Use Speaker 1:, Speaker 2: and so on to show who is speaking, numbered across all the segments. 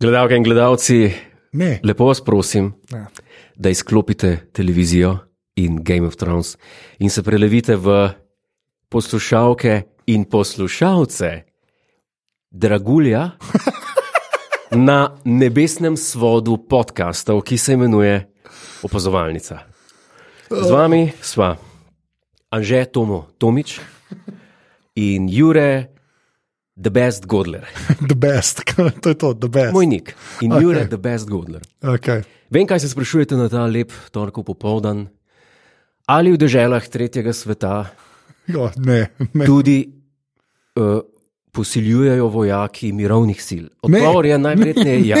Speaker 1: Gledalke in gledalci,
Speaker 2: Ne.
Speaker 1: lepo vas prosim,
Speaker 2: Ja.
Speaker 1: da izklopite televizijo in Game of Thrones in se prelevite v poslušalke in poslušalce Dragulja na nebesnem svodu podkastov, ki se imenuje Opazovalnica. Z vami sva Anže Tomo Tomič in Jure The Best Godler,
Speaker 2: The best, to je to, the best.
Speaker 1: moj nik in
Speaker 2: Okej.
Speaker 1: Jure The Best Godler.
Speaker 2: Okay.
Speaker 1: Vem, kaj se sprašujete na ta lep torkov popoldan. Ali v deželah tretjega sveta
Speaker 2: Jo, ne, ne.
Speaker 1: tudi uh, posiljujejo vojaki mirovnih sil? Odgovor je najverjetneje ja.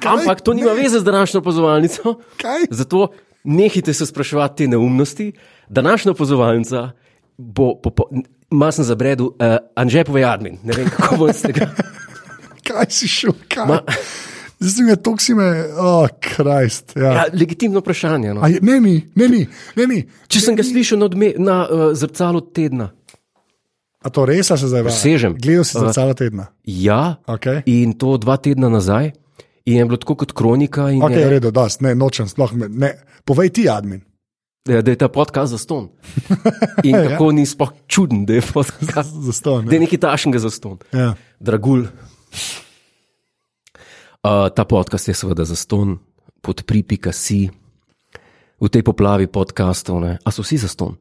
Speaker 2: Kaj?
Speaker 1: Ampak to nima veze z današnjo opazovalnico.
Speaker 2: Kaj?
Speaker 1: Zato nehite se spraševati te neumnosti. Današnja opazovalnica bo, popo, ima sem zabredu, uh, Anže pove admin. Ne vem, kako bo z tega.
Speaker 2: Kaj si šel? Kaj?
Speaker 1: Ma-
Speaker 2: Zdaj si me, tok si me, oh, krajst. Ja.
Speaker 1: Ja, legitimno vprašanje. No.
Speaker 2: Ja. Ne, ni, ne, ni, ne, ni.
Speaker 1: Če sem ga slišal na, odme, na uh, zrcalu tedna.
Speaker 2: A to res a se zdaj vaja?
Speaker 1: Presežem.
Speaker 2: Gledal si za
Speaker 1: Aha.
Speaker 2: celo tedna.
Speaker 1: Ja,
Speaker 2: Okay.
Speaker 1: in to dva tedna nazaj. In je bilo tako kot kronika, in
Speaker 2: Ok,
Speaker 1: okay,
Speaker 2: v
Speaker 1: je,
Speaker 2: redu, da ne, nočem, sploh me- ne. Povej ti, admin.
Speaker 1: da, je- da je ta podcast za ston. In kako ja. ni sploh čuden, da je podcast
Speaker 2: Za ston.
Speaker 1: da je nekaj tašnega za ston.
Speaker 2: Ja.
Speaker 1: Dragulj. Uh, ta podcast je seveda za ston, podpripika si. V tej poplavi podkastov, ne? a so vsi za ston.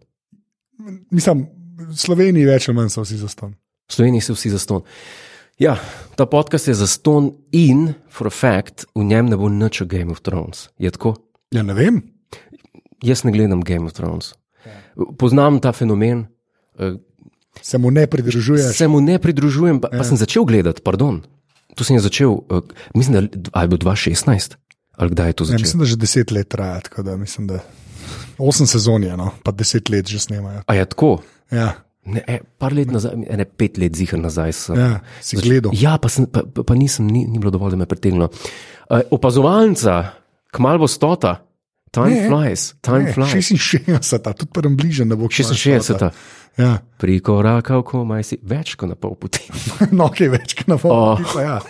Speaker 2: Mislim, v Sloveniji več ali manj so vsi za ston.
Speaker 1: V Sloveniji so vsi za ston. Ja, ta podcast je za ston in, for a fact, v njem ne bo nič o Game of Thrones. Je tako?
Speaker 2: Ja, ne vem.
Speaker 1: Jaz ne gledam Game of Thrones.
Speaker 2: Ja.
Speaker 1: Poznam ta fenomen, eh,
Speaker 2: Se mu ne pridružuješ.
Speaker 1: se mu ne pridružujem, pa,
Speaker 2: Ja.
Speaker 1: pa sem začel gledati. Pardon. To sem jaz začel, eh, mislim, da l- ali je bilo 2016, ali kdaj je to
Speaker 2: Ja,
Speaker 1: začelo.
Speaker 2: mislim, da že deset let traja, tako da mislim, da osem sezon je, no, pa deset let že snemajo.
Speaker 1: A je tako?
Speaker 2: Ja,
Speaker 1: Ne, e, par let nazaj, ne pet let, zihar nazaj. Sem,
Speaker 2: ja, si gledal.
Speaker 1: Ja, pa, sem, pa, pa- pa nisem, ni, ni bilo dovolj, da me pritegnilo. Uh, opazovalca, kmalo bo stota, time
Speaker 2: Ne,
Speaker 1: ne, flies, time ne,
Speaker 2: Ne,
Speaker 1: flies.
Speaker 2: 66, tudi prvem bližnjem ne bo kmalu
Speaker 1: 66.
Speaker 2: stota. Ja,
Speaker 1: Prikorakal, komaj si več kot na pol poti.
Speaker 2: no, kaj več, kot na
Speaker 1: Oh.
Speaker 2: volju. Ja.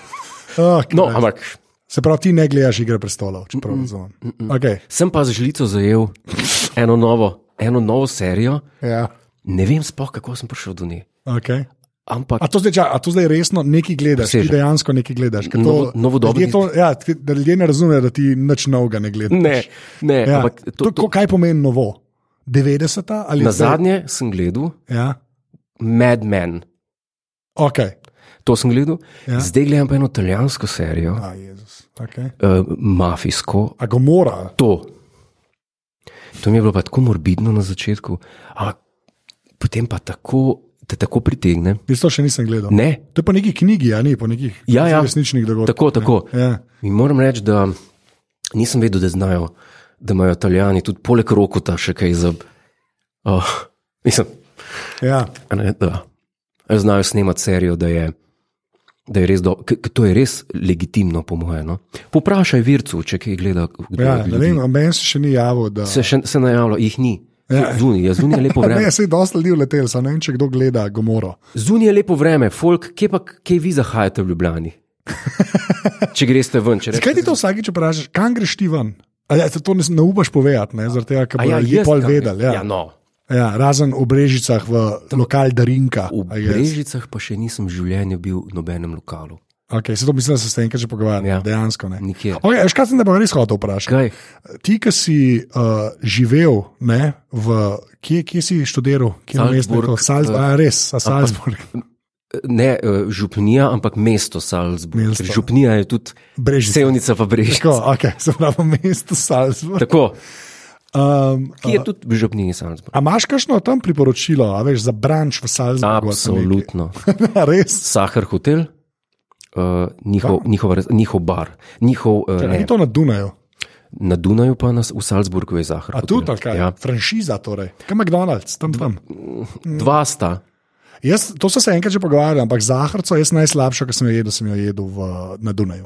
Speaker 2: Oh,
Speaker 1: No, ampak
Speaker 2: Se pravi, ti ne gledaš igre prestolov, če prav razumem. Okay.
Speaker 1: sem pa z žlico zajel eno novo, eno novo serijo,
Speaker 2: Ja.
Speaker 1: ne vem spoh, kako sem prišel do nje.
Speaker 2: Okay.
Speaker 1: Ampak
Speaker 2: A to zdaj, ča, a to zdaj resno nekaj gledaš, ti
Speaker 1: Presežem.
Speaker 2: dejansko nekaj gledaš. ker
Speaker 1: Novo-
Speaker 2: To,
Speaker 1: novodobni-
Speaker 2: ljudje to, ja, t- da ljudje ne razumejo, da ti nič novega ne gledaš.
Speaker 1: ne, ne, ja,
Speaker 2: Ja.
Speaker 1: ampak to, to,
Speaker 2: ko- Kaj pomeni novo? 90 ali
Speaker 1: na
Speaker 2: zdaj?
Speaker 1: zadnje sem gledal
Speaker 2: Ja,
Speaker 1: Mad Men.
Speaker 2: ok.
Speaker 1: To sem gledal,
Speaker 2: Ja.
Speaker 1: ja. zdaj gledam pa eno italijansko serijo,
Speaker 2: A, Jezus. Okay.
Speaker 1: uh, mafijsko.
Speaker 2: A Gomora,
Speaker 1: To. to mi je bilo pa tako morbidno na začetku, ampak potem pa tako, te tako pritegne.
Speaker 2: jaz to še nisem gledal.
Speaker 1: Ne,
Speaker 2: To je po neki knjigi, ali po nekih
Speaker 1: Ja, ja.
Speaker 2: resničnih dogodkih.
Speaker 1: tako, tako.
Speaker 2: Ja.
Speaker 1: In moram reči, da nisem vedel, da znajo, da imajo Italijani tudi poleg rokota še kaj za. Oh, mislim,
Speaker 2: Ja.
Speaker 1: a ne, da znajo snemati serijo, da je, da je res dobro. To je res legitimno, po mojem. No? Poprašaj vircu, če kaj gleda. kdo
Speaker 2: Ja,
Speaker 1: od
Speaker 2: ne
Speaker 1: ljudi.
Speaker 2: vem, a meni se še ni javil, da
Speaker 1: Se, Ja. še, se najavlja, jih ni.
Speaker 2: Ja.
Speaker 1: Zunaj je, zunaj je lepo
Speaker 2: Ne,
Speaker 1: vreme.
Speaker 2: se je dosti ljudi uletel, samo ne vem, če kdo gleda Gomoro.
Speaker 1: Zunaj je lepo vreme, folk, kje pa kje vi zahajate v Ljubljani? Če greš ven, če
Speaker 2: Zakaj ti to vsakeč vprašaš, kam greš ti ven? A Ja, se to ne, ne upaš povedati, ne, zaradi tega, ker
Speaker 1: A
Speaker 2: bodo ljudje
Speaker 1: jaz
Speaker 2: pol
Speaker 1: kam grem?
Speaker 2: vedeli. Ja.
Speaker 1: ja, no.
Speaker 2: Ja, razen v Brežicah, v lokal Darinka.
Speaker 1: V Brežicah pa še nisem v življenju bil v nobenem lokalu.
Speaker 2: Okay, se to mislim, da se s tem enkrat že pogovarjamo, ja.
Speaker 1: Ja.
Speaker 2: dejansko ne.
Speaker 1: Nikjer.
Speaker 2: Okay, škaj sem te pa res hotel vprašati.
Speaker 1: Kaj?
Speaker 2: Ti, ki si uh, živel, ne, v, kje, kje si študiral, kje na mestu je to?
Speaker 1: Salzburg,
Speaker 2: Salzburg,
Speaker 1: eh,
Speaker 2: uh, res, a Salzburg,
Speaker 1: Ne eh, župnija, ampak mesto Salzburg.
Speaker 2: Mesto.
Speaker 1: Mesto. Župnija je tudi
Speaker 2: Brežice.
Speaker 1: Sevnica, pa Brežica.
Speaker 2: Tako, okay, se pravi, mesto Salzburg.
Speaker 1: Tako,
Speaker 2: Um,
Speaker 1: ki je tudi v župniji Salzburg.
Speaker 2: a imaš kakšno tam priporočilo, a veš, za branč v Salzburgu? ali pa nekaj?
Speaker 1: Absolutno.
Speaker 2: res.
Speaker 1: Sahar hotel, uh, njihov, njihov, njihov bar, njihov uh,
Speaker 2: Ni
Speaker 1: ne,
Speaker 2: to na Dunaju.
Speaker 1: Na Dunaju pa nas v Salzburgu je zahar.
Speaker 2: A tudi, ali kaj? Ja.
Speaker 1: Ja.
Speaker 2: Franšiza, torej. Kaj McDonald's, tam tam. Mm.
Speaker 1: Dva sta.
Speaker 2: Jaz, to so se enkrat že pogovarjali, ampak zahrco jaz najslabšo, ki sem jo jedel, sem jo jedel v, na Dunaju.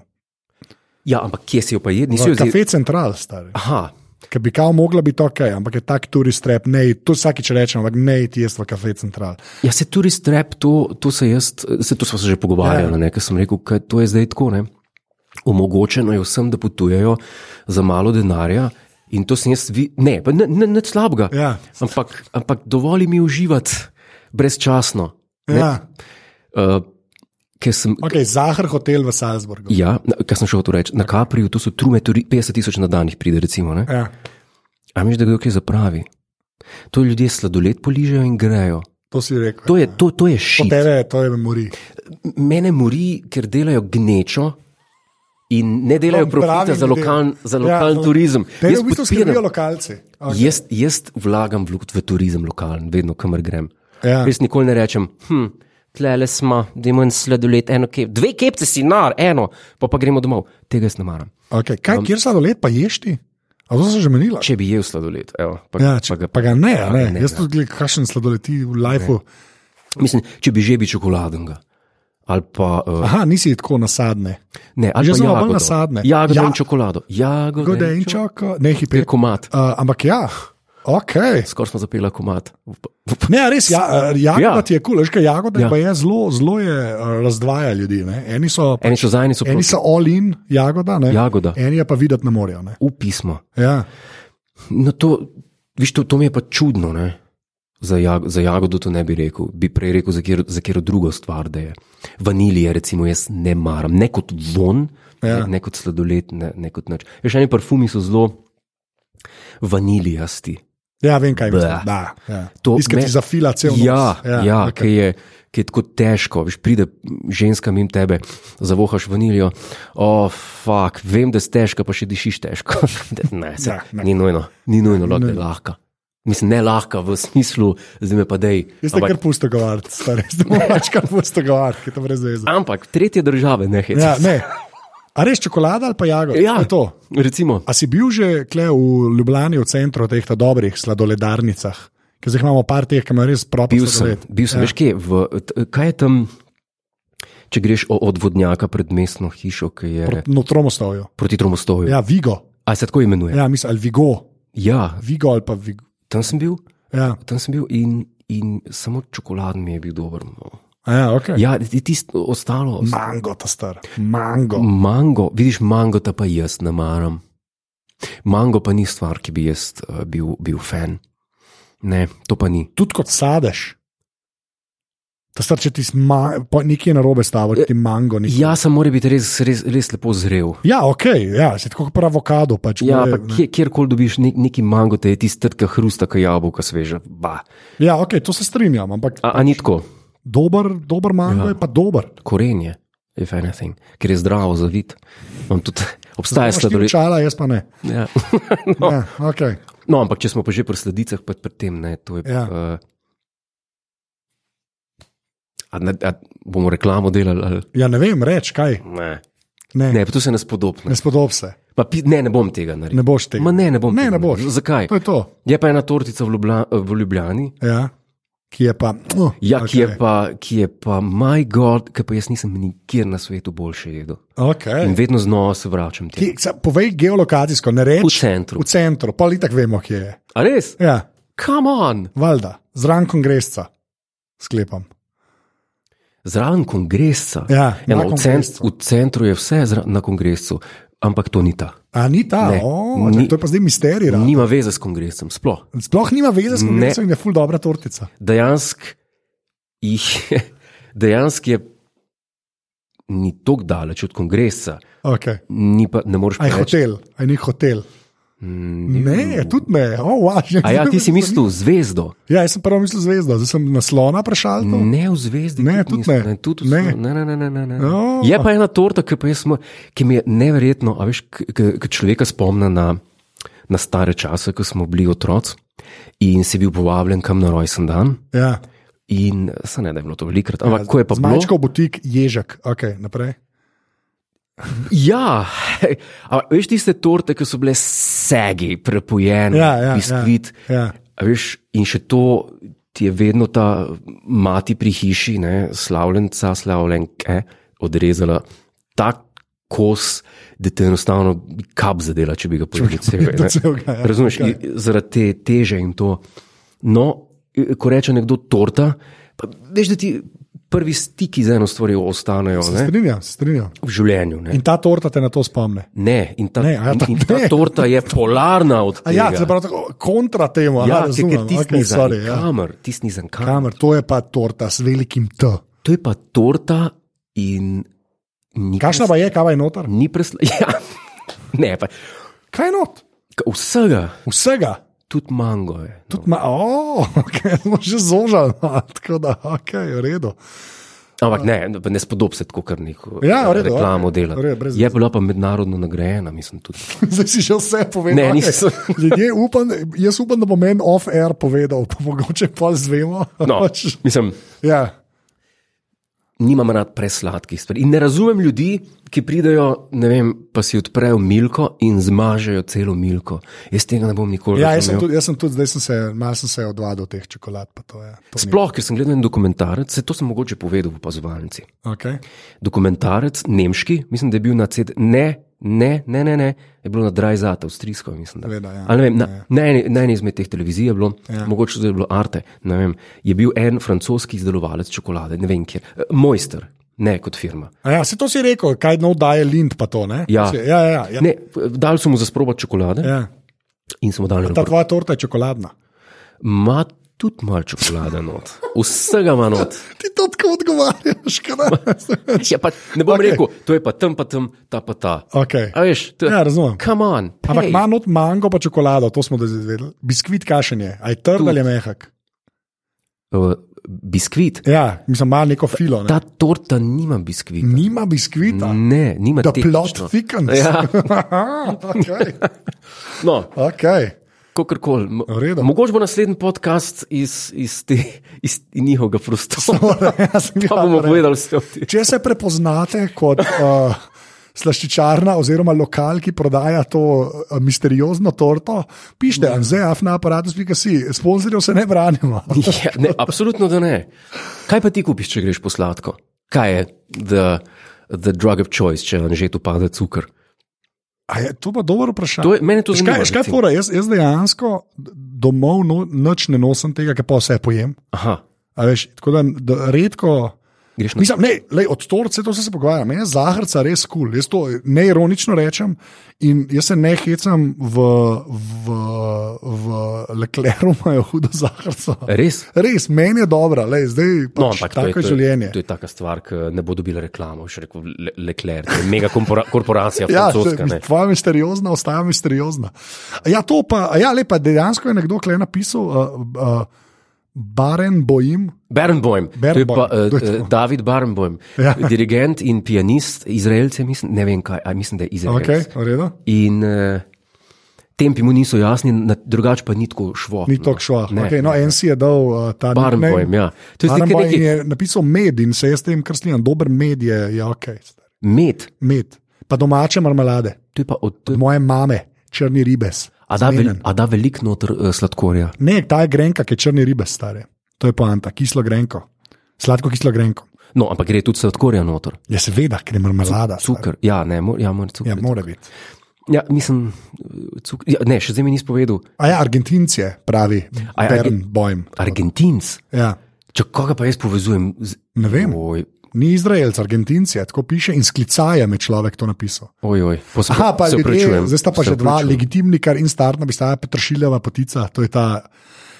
Speaker 1: Ja, ampak kje si jo pa jedni?
Speaker 2: V Kafe Central, stari.
Speaker 1: Aha,
Speaker 2: Ker bi kao mogla biti ok, ampak je tak turist rep, ne, to vsakič rečem, ampak ne, ti jaz v Kafe Central.
Speaker 1: ja, se tudi strep, to, to se jaz, se to smo se že pogovarjali,
Speaker 2: Ja.
Speaker 1: ja. ker sem rekel, kaj, to je zdaj tako. Ne? omogočeno je vsem, da potujejo za malo denarja. In to sem jaz, vi, ne, pa ne, ne, ne slabega.
Speaker 2: Ja.
Speaker 1: Ampak, ampak dovolj mi je uživati brezčasno.
Speaker 2: Ja.
Speaker 1: Uh, ker sem,
Speaker 2: Okay, Zahar hotel v Salzburgu.
Speaker 1: ja, na- kar sem šel to reči, na Kapriju to so trume, turi- 50 tisoč na dan jih pride, recimo. Ne?
Speaker 2: Ja,
Speaker 1: A miš, da kdo kaj zapravi. To ljudje sladoled poližejo in grejo.
Speaker 2: to si rekel.
Speaker 1: To je, to, to je
Speaker 2: Po
Speaker 1: šit.
Speaker 2: tebe, to je memorij.
Speaker 1: Mene mori, ker delajo gnečo. In ne delajo
Speaker 2: To
Speaker 1: profita
Speaker 2: pravim
Speaker 1: za lokalen
Speaker 2: ljudem.
Speaker 1: za lokal
Speaker 2: no,
Speaker 1: turizem.
Speaker 2: Tebe
Speaker 1: Jaz
Speaker 2: v bistvu
Speaker 1: podpiram-
Speaker 2: skrbijo lokalci. Okay.
Speaker 1: Jaz, jaz vlagam v, v turizem lokalen, vedno, kamor grem.
Speaker 2: Ja.
Speaker 1: Jaz nikoli ne rečem, hm, tlele smo, dajmo en sladoled, eno kep, dve kepce si nar, eno, pa pa gremo domov. Tega jaz ne maram.
Speaker 2: Okay. Kaj, um, kjer sladoled pa ješ ti? A to sem že menila.
Speaker 1: Če bi jedel sladoled, evo, pa,
Speaker 2: Ja, če, pa ga ne, a ne.
Speaker 1: ne,
Speaker 2: ne jaz tudi gledam, kakšen sladoled ti v lifeu.
Speaker 1: Mislim, če bi že bi čokoladnega. Ali pa, uh,
Speaker 2: Aha, nisi tako nasadne.
Speaker 1: ne, ali
Speaker 2: Že
Speaker 1: pa
Speaker 2: sem malo bolj
Speaker 1: jagodo.
Speaker 2: nasadne.
Speaker 1: Jagodo
Speaker 2: Ja.
Speaker 1: in čokolado. Jagodo
Speaker 2: Gode in čoko, ne hiper.
Speaker 1: Komat.
Speaker 2: Uh, ampak ja, ok.
Speaker 1: Skoraj smo zapeli komat.
Speaker 2: Ne, res, ja, eh, jagoda
Speaker 1: Ja.
Speaker 2: ja. ti je kul, cool, že jagoda
Speaker 1: Ja.
Speaker 2: ja. je zelo, zelo je eh, razdvaja ljudi. Ne? Eni so,
Speaker 1: Eni so zajni, so
Speaker 2: eni
Speaker 1: proti.
Speaker 2: so all in jagoda, ne?
Speaker 1: Jagoda.
Speaker 2: eni je pa videti na morju. ne.
Speaker 1: V pismo.
Speaker 2: Ja.
Speaker 1: No, to, viš, to, to mi je pa čudno. Ne? Za, jag, za jagodo to ne bi rekel, bi prej rekel za katero, za katero drugo stvar. da je. Vanilije, recimo, jaz ne maram, ne kot von, ja. ne, ne kot sladoled, ne, ne kot nič. Še eni parfumi so zelo vanilijasti.
Speaker 2: ja, vem kaj misliš.
Speaker 1: Bleh.
Speaker 2: Da, ja.
Speaker 1: To
Speaker 2: Iskati
Speaker 1: me-
Speaker 2: me... za fila cel nos.
Speaker 1: Ja, ja, ja okay.
Speaker 2: okay.
Speaker 1: ki, je, ki je tako težko. Viš, pride ženska in tebe, zavohaš vanilijo. O, oh, fuk, vem, da si težka, pa še dišiš težko. ne, se,
Speaker 2: Da, ne.
Speaker 1: ni nujno, ni nujno lahko, da je lahka. Mislim, ne lahka v smislu, zdaj me pa dej.
Speaker 2: Jaz ste kar
Speaker 1: Ampak,
Speaker 2: pusto govoriti, stari, zdaj moraš pač kar pusto govoriti, ki je to brez veze.
Speaker 1: ampak tretje države ne hec.
Speaker 2: Ja, ne. A res čokolada ali pa jagoda?
Speaker 1: Ja.
Speaker 2: To je To.
Speaker 1: Recimo,
Speaker 2: A si bil že kle v Ljubljani, v centru teh ta dobrih sladoledarnicah? Ker zdaj imamo par teh, ki imajo res propi
Speaker 1: bil sem, bil sem ja. veš kje, v, t- kaj je tam, če greš o- od vodnjaka pred mestno hišo, ki je Pro...
Speaker 2: No, tromostovju.
Speaker 1: proti Tromostoju. Ja.
Speaker 2: Ja, Vigo.
Speaker 1: A se tako imenuje? Ja.
Speaker 2: Ja, mislim, ali Vigo.
Speaker 1: ja,
Speaker 2: Vigo ali pa Vigo.
Speaker 1: tam sem bil.
Speaker 2: Ja,
Speaker 1: Tam sem bil in, in samo čokolad mi je bil dober. No.
Speaker 2: A ja ok.
Speaker 1: Ja, ti- tisto ostalo. osta-
Speaker 2: Mango, ta star. Mango.
Speaker 1: Mango, vidiš, mango ta pa jaz ne maram. Mango pa ni stvar, ki bi jaz uh, bil, bil fan. Ne, to pa ni.
Speaker 2: Tudi kot sadeš. Ta star, če ti s ma- po- nekaj je narobe stavo, če ti mango ni.
Speaker 1: Ja, sem mora biti res, res, res lepo zrel.
Speaker 2: Ja, ok, ja, si tako kot pri avokado. Pač,
Speaker 1: Ja,
Speaker 2: more,
Speaker 1: pa
Speaker 2: ne.
Speaker 1: kje, kjerkoli dobiš nek, neki mango, te je tisti trdka hrusta, ki jabolka sveža. Ba.
Speaker 2: ja, ok, to se strinjam, ampak
Speaker 1: A, a ni tako,
Speaker 2: dober, dober mango
Speaker 1: Ja.
Speaker 2: ja. je pa dober.
Speaker 1: korenje, if anything, ker je zdravo za vid. Imam Tudi, obstaja
Speaker 2: Imaš ti
Speaker 1: sladoled.
Speaker 2: Čala, jaz pa ne.
Speaker 1: Ja.
Speaker 2: No. Ja, okay.
Speaker 1: No, ampak če smo pa že pri sledicah, pa pri tem ne, to je.
Speaker 2: Ja.
Speaker 1: Uh, a ne, a bomo reklamo delali ali
Speaker 2: ja, ne vem, reč kaj.
Speaker 1: ne.
Speaker 2: Ne, ne.
Speaker 1: Ne, pa to se ne spodobne.
Speaker 2: ne spodob se,
Speaker 1: Ne, ne bom tega naredil.
Speaker 2: ne boš tega.
Speaker 1: Ma ne, ne bom.
Speaker 2: Ne,
Speaker 1: tega
Speaker 2: ne boš.
Speaker 1: naredil. Zakaj?
Speaker 2: To je to.
Speaker 1: Je pa ena tortica v, Ljubla, v Ljubljani,
Speaker 2: Ja. Ki je pa. Uh,
Speaker 1: ja,
Speaker 2: okay.
Speaker 1: okay. ki, je pa, ki je pa, my god, ki pa jaz nisem nikjer na svetu boljše jedel.
Speaker 2: Okay.
Speaker 1: In vedno znova se vračam temu.
Speaker 2: Kje, sa- povej geolokacijsko, ne reči.
Speaker 1: V centru.
Speaker 2: V centru, pa ali tako vemo, kje je.
Speaker 1: A res?
Speaker 2: Ja,
Speaker 1: Come on!
Speaker 2: valjda, zraven kongresca, sklepam.
Speaker 1: Zraven kongresa.
Speaker 2: Ja, na
Speaker 1: Eno, v, cent,
Speaker 2: kongresu.
Speaker 1: v centru je vse zra, na kongresu, ampak to ni ta.
Speaker 2: A ni ta,
Speaker 1: Ne,
Speaker 2: o,
Speaker 1: ni-
Speaker 2: ni, to je pa zdaj misterij. Ni,
Speaker 1: Nima veze s kongresom, sploh.
Speaker 2: Sploh nima veze s
Speaker 1: Ne.
Speaker 2: kongresom in je ful dobra tortica.
Speaker 1: Dejansko dejansk je ni tako daleč od kongresa,
Speaker 2: Okay.
Speaker 1: ni pa, ne moreš
Speaker 2: A je
Speaker 1: reči.
Speaker 2: hotel, a je ni hotel.
Speaker 1: Mm,
Speaker 2: Ne, tudi ne, oh, wow,
Speaker 1: A ja, ti si mislil zvezdo,
Speaker 2: Ja, jaz sem prvo mislil zvezdo, zdaj sem naslona vprašal. to.
Speaker 1: ne v zvezdi.
Speaker 2: No. Ne, tudi
Speaker 1: nisem,
Speaker 2: ne.
Speaker 1: tudi
Speaker 2: Ne.
Speaker 1: ne. Ne, ne, ne, ne, ne, ne.
Speaker 2: No.
Speaker 1: Je pa ena torta, ki, pa jaz, mo- ki mi je neverjetno, a veš, k- k- ki človeka spomne na, na stare čase, ko smo bili otroci in si bil povabljen kam na rojsten dan.
Speaker 2: Ja.
Speaker 1: In se ne da je bilo to velikrat, ampak ja, ko je pa bilo.
Speaker 2: Zmanjšal butik, ježek, ok, naprej.
Speaker 1: Ja, a veš tiste torte, ki so bile segi, prepojene,
Speaker 2: Ja, ja,
Speaker 1: biskvit.
Speaker 2: Ja.
Speaker 1: A Veš, in še to ti je vedno ta mati pri hiši, ne, slavljenca, slavljenke, odrezala tak kos, da te enostavno bi kap zadela, če bi ga
Speaker 2: Do
Speaker 1: pojedel.
Speaker 2: celega, ja.
Speaker 1: Razumeš,
Speaker 2: Okej.
Speaker 1: okay. zaradi te teže in to. No, ko reče nekdo torta, pa veš, da ti prvi stiki z eno stvarjo ostanejo ne,
Speaker 2: Strinjam, se strinjam.
Speaker 1: v življenju. Ne,
Speaker 2: In ta torta te na to spomne.
Speaker 1: ne, in, ta,
Speaker 2: Ne, a ja,
Speaker 1: in,
Speaker 2: ta-
Speaker 1: in ta
Speaker 2: ne.
Speaker 1: torta je polarna od
Speaker 2: A ja,
Speaker 1: tega.
Speaker 2: se pravi tako kontra temu,
Speaker 1: ja, ker- ker
Speaker 2: ali razumem.
Speaker 1: tisti
Speaker 2: Okay,
Speaker 1: okay,
Speaker 2: sorry, ja.
Speaker 1: kamer, tisti za kamer.
Speaker 2: Kamer, to je pa torta s velikim T.
Speaker 1: To je pa torta in ni,
Speaker 2: Kakšna pa je, kava je noter?
Speaker 1: ni presla. Ja, ne, pa,
Speaker 2: Kaj je not?
Speaker 1: k- vsega,
Speaker 2: Vsega.
Speaker 1: tudi mango je. No.
Speaker 2: Tudi ma, oh, okay, smo že zožali, no, tako da okay, v redu.
Speaker 1: Ampak ne, ne spodob se tako kar neko
Speaker 2: Ja, v redu,
Speaker 1: reklamo
Speaker 2: okej,
Speaker 1: dela.
Speaker 2: v redu, brez
Speaker 1: Je bila pa mednarodno nagrajena, mislim tudi.
Speaker 2: Zdaj si že vse povedal.
Speaker 1: Ne,
Speaker 2: okej.
Speaker 1: nisem.
Speaker 2: Ljudje upam, jaz upam, da bo meni off-air povedal, pa mogoče pa zvemo.
Speaker 1: No,
Speaker 2: Pač,
Speaker 1: mislim,
Speaker 2: ja.
Speaker 1: nimam rad presladkih stvari. In ne razumem ljudi, ki pridejo, ne vem, pa si odprejo milko in zmažejo celo milko. Jaz tega ne bom nikoli
Speaker 2: Ja, jaz sem
Speaker 1: razumel.
Speaker 2: tudi, jaz sem tudi zdaj sem se, malo sem se odvadil od teh čokolad. pa To, ja, to
Speaker 1: Sploh, ker sem gledal en dokumentarec, se to sem mogoče povedal v opazovalnici.
Speaker 2: Ni, okay.
Speaker 1: dokumentarec, nemški, mislim, da je bil na CD, ne, ne, ne, ne, ne je bilo na Drajzat, avstrijsko, mislim. Da.
Speaker 2: Seveda, ja.
Speaker 1: Ali ne vem, na, na, eni, na eni izmed teh televizij je bilo, ja. mogoče tudi je bilo Arte, ne vem, je bil en francoski izdelovalec čokolade, ne vem kje, Eh, Mojster, ne kot firma.
Speaker 2: A ja, se to si rekel, kaj nov daje Lind, pa to ne?
Speaker 1: Ja.
Speaker 2: Se, ja, ja, ja.
Speaker 1: Ne, dali so mu za sprobat čokolade ja.
Speaker 2: ja.
Speaker 1: in smo dali
Speaker 2: Ta
Speaker 1: na
Speaker 2: tvoja torta je čokoladna.
Speaker 1: Ma tudi malo čokolade not, vsega ima not.
Speaker 2: Ti to tako odgovarjaš, kaj
Speaker 1: Ja, pa, ne bom
Speaker 2: Okej.
Speaker 1: okay. rekel, to je pa tam, pa tam, ta pa ta.
Speaker 2: okay.
Speaker 1: A veš, to,
Speaker 2: Ja, razumem.
Speaker 1: Come on,
Speaker 2: Ampak
Speaker 1: pej.
Speaker 2: ima not mango pa čokolado, to smo da zdaj izvedeli. Biskvit kašen je, aj trd ali je mehak.
Speaker 1: Uh, biskvit,
Speaker 2: Ja, mislim, ima neko filo. Ne?
Speaker 1: Ta torta nima biskvita.
Speaker 2: Nima biskvita,
Speaker 1: Ne, nima
Speaker 2: da
Speaker 1: tehnično.
Speaker 2: plot thickens.
Speaker 1: Mm,
Speaker 2: Ah,
Speaker 1: Ja.
Speaker 2: okay.
Speaker 1: No,
Speaker 2: okay.
Speaker 1: kakorkoli.
Speaker 2: V redu.
Speaker 1: Mogoče bo naslednji podcast iz, iz, te, iz njihovega prostora.
Speaker 2: Ja, sem
Speaker 1: Pa
Speaker 2: bil-
Speaker 1: bomo povedali vse o tem.
Speaker 2: Če se prepoznate kot uh, slaščičarna oziroma lokal, ki prodaja to uh, misteriozno torto, pišite Anzeaf na aparatus.si, sponzorjev se ne branimo.
Speaker 1: Ja, ne, absolutno da ne. Kaj pa ti kupiš, če greš po sladko? Kaj je the, the drug of choice, če vam že tu pade cukor?
Speaker 2: A Je, to pa dobro vprašanje.
Speaker 1: To je, mene to zanima.
Speaker 2: Škaj, škaj
Speaker 1: recimo.
Speaker 2: fora, jaz, jaz dejansko domov no, noč ne nosim tega, kar pa vse pojem.
Speaker 1: Aha,
Speaker 2: A Veš, tako da, da redko.
Speaker 1: greš na
Speaker 2: Mislim, ne, lej, od torce to vse se pogovarjam, meni je zahrca res kul, cool. jaz to neironično rečem in jaz se ne hecam v, v, v Lecleru, imajo hudo zahrca.
Speaker 1: Res?
Speaker 2: Res, meni je dobra, lej, zdaj
Speaker 1: No,
Speaker 2: pač no,
Speaker 1: ampak to je, to,
Speaker 2: tako je
Speaker 1: je,
Speaker 2: življenje.
Speaker 1: to je taka stvar, ki ne bo dobila reklamo, še rekel Le- Leclerc, to je mega kompora- korporacija,
Speaker 2: Ja,
Speaker 1: francoska. ne.
Speaker 2: tvoja misteriozna ostaja misteriozna. A Ja, to pa, a ja, lepa, dejansko je nekdo kle napisal, uh, uh, Baren bojim,
Speaker 1: Barenboim, to je pa,
Speaker 2: Barenboim,
Speaker 1: uh,
Speaker 2: to je to.
Speaker 1: David Barenboim,
Speaker 2: Ja.
Speaker 1: ja. dirigent in pianist, izraelce, mislim, ne vem kaj, a mislim, da je izraelec.
Speaker 2: okay, v redu.
Speaker 1: In uh, tempi mu niso jasni, na- drugače pa ni tako šlo.
Speaker 2: Ni tako šlo.
Speaker 1: Ne.
Speaker 2: Okay, no, en si je dal uh, ta nickname.
Speaker 1: Barenboim, ja. To je zdaj
Speaker 2: Aram
Speaker 1: kar
Speaker 2: Bajn
Speaker 1: neki
Speaker 2: je napisal med in se jaz s tem krslim, dober med je, je ok, star.
Speaker 1: med,
Speaker 2: med. Pa domače marmelade,
Speaker 1: to je pa od. To je,
Speaker 2: moje mame, črni ribes.
Speaker 1: a da, vel,
Speaker 2: zmenen.
Speaker 1: a da velik noter uh, sladkorja.
Speaker 2: Ne, ta je grenka, ki je črni ribes, stare. To je poanta, kislo grenko, sladko kislo grenko.
Speaker 1: No, ampak gre tudi sladkorja noter.
Speaker 2: Ja, seveda, ker je marmelada. stari.
Speaker 1: Cukr, ja, ne, mor, ja, mora cukr.
Speaker 2: Ja, mora biti.
Speaker 1: ja, mislim, cukr, ja, ne, še zdaj mi nisi povedal.
Speaker 2: A ja, Argentinci je pravi,
Speaker 1: A ja,
Speaker 2: Bern bojem.
Speaker 1: Argentinc.
Speaker 2: Ja,
Speaker 1: Če koga pa jaz povezujem z.
Speaker 2: ne vem,
Speaker 1: Oj,
Speaker 2: ni Izraelc, Argentinci je, tako piše in sklicajem je človek to napisal.
Speaker 1: Oj, oj, pa se-
Speaker 2: Aha, pa
Speaker 1: se
Speaker 2: ljudje,
Speaker 1: opravičujem,
Speaker 2: zdaj sta pa
Speaker 1: se
Speaker 2: že dva,
Speaker 1: opravičujem.
Speaker 2: legitimni, kar in starna, bi stala Petršiljeva potica. To je ta,